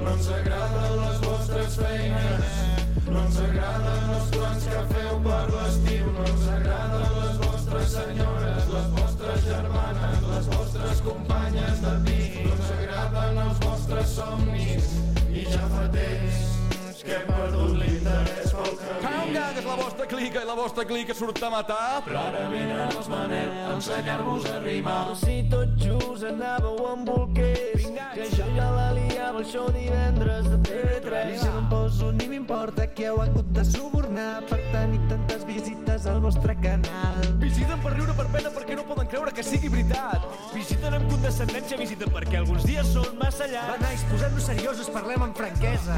no ens agraden les vostres feines, no ens agraden els plans que feu per l'estiu, no ens agraden les vostres senyores, les vostres germanes, les vostres companyes de pis, no ens agraden els vostres somnis, i ja fa temps que hem perdut l'interès pel camí. Calma, que és la vostra clica i la vostra clica surt a matar. Però ara venen els Manel a ensenyar-vos a rimar. Si tot just anàveu amb bolquers, que jo ja la liava el show divendres de TV3. I ja no em poso ni m'importa que heu hagut de subornar per tenir tantes visites al vostre canal. Visiten per riure per pena perquè no poden creure que sigui veritat. Visiten amb condescendència, visiten perquè alguns dies són massa llargs. Va, nois, posem-nos seriosos, parlem amb franquesa.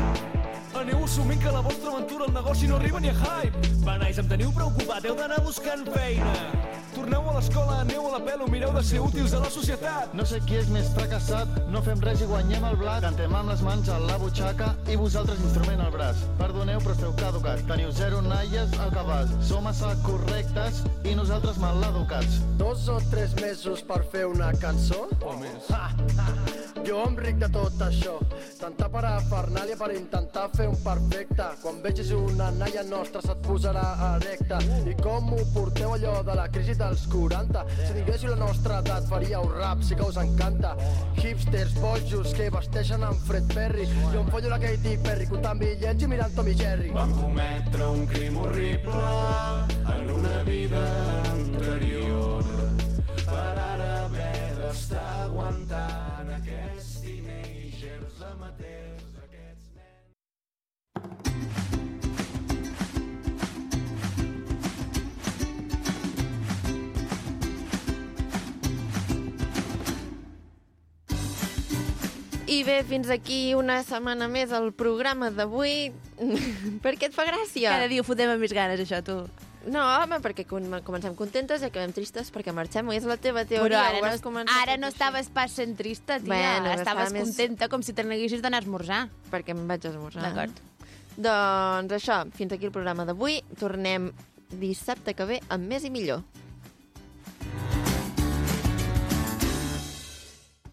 Aneu assumint que la vostra aventura al negoci no arriba ni a hype. Va, nois, em teniu preocupat, heu d'anar buscant feina. Torneu a l'escola, aneu a la pelo, mireu de ser útils a la societat. No sé qui és més fracassat, no fem res i guanyem el blat. Cantem amb les mans a la butxaca i vosaltres instrument al braç. Perdoneu, però esteu caducats. Teniu zero naies al cabàs. Som massa correctes i nosaltres mal educats. Dos o tres mesos per fer una cançó? O més. Ha, ha. Jo em ric de tot això. Tanta parafernàlia per intentar fer un perfecte. Quan vegis una naia nostra se't posarà erecta. I com ho porteu allò de la crisi dels 40? Si tinguéssiu la nostra edat faríeu rap, sí que us encanta. Hipsters, bojos que vesteixen amb Fred Perry. Jo em follo la Katy Perry, comptant bitllets i mirant Tom i Jerry. Vam cometre un crim horrible en una vida anterior. Per ara haver d'estar aguantant aquests teenagers amateurs, aquests nens... I bé, fins aquí una setmana més el programa d'avui. per què et fa gràcia? Cada dia ho fotem amb més ganes, això, tu. No, home, perquè com- comencem contentes i acabem tristes perquè marxem. És la teva teoria. Però ho ara no, vas es- començar ara tot no això. estaves pas sent trista, tia. Bueno, estaves estava més- contenta com si te n'haguessis d'anar a esmorzar. Perquè em vaig esmorzar. D'acord. Doncs això, fins aquí el programa d'avui. Tornem dissabte que ve amb més i millor.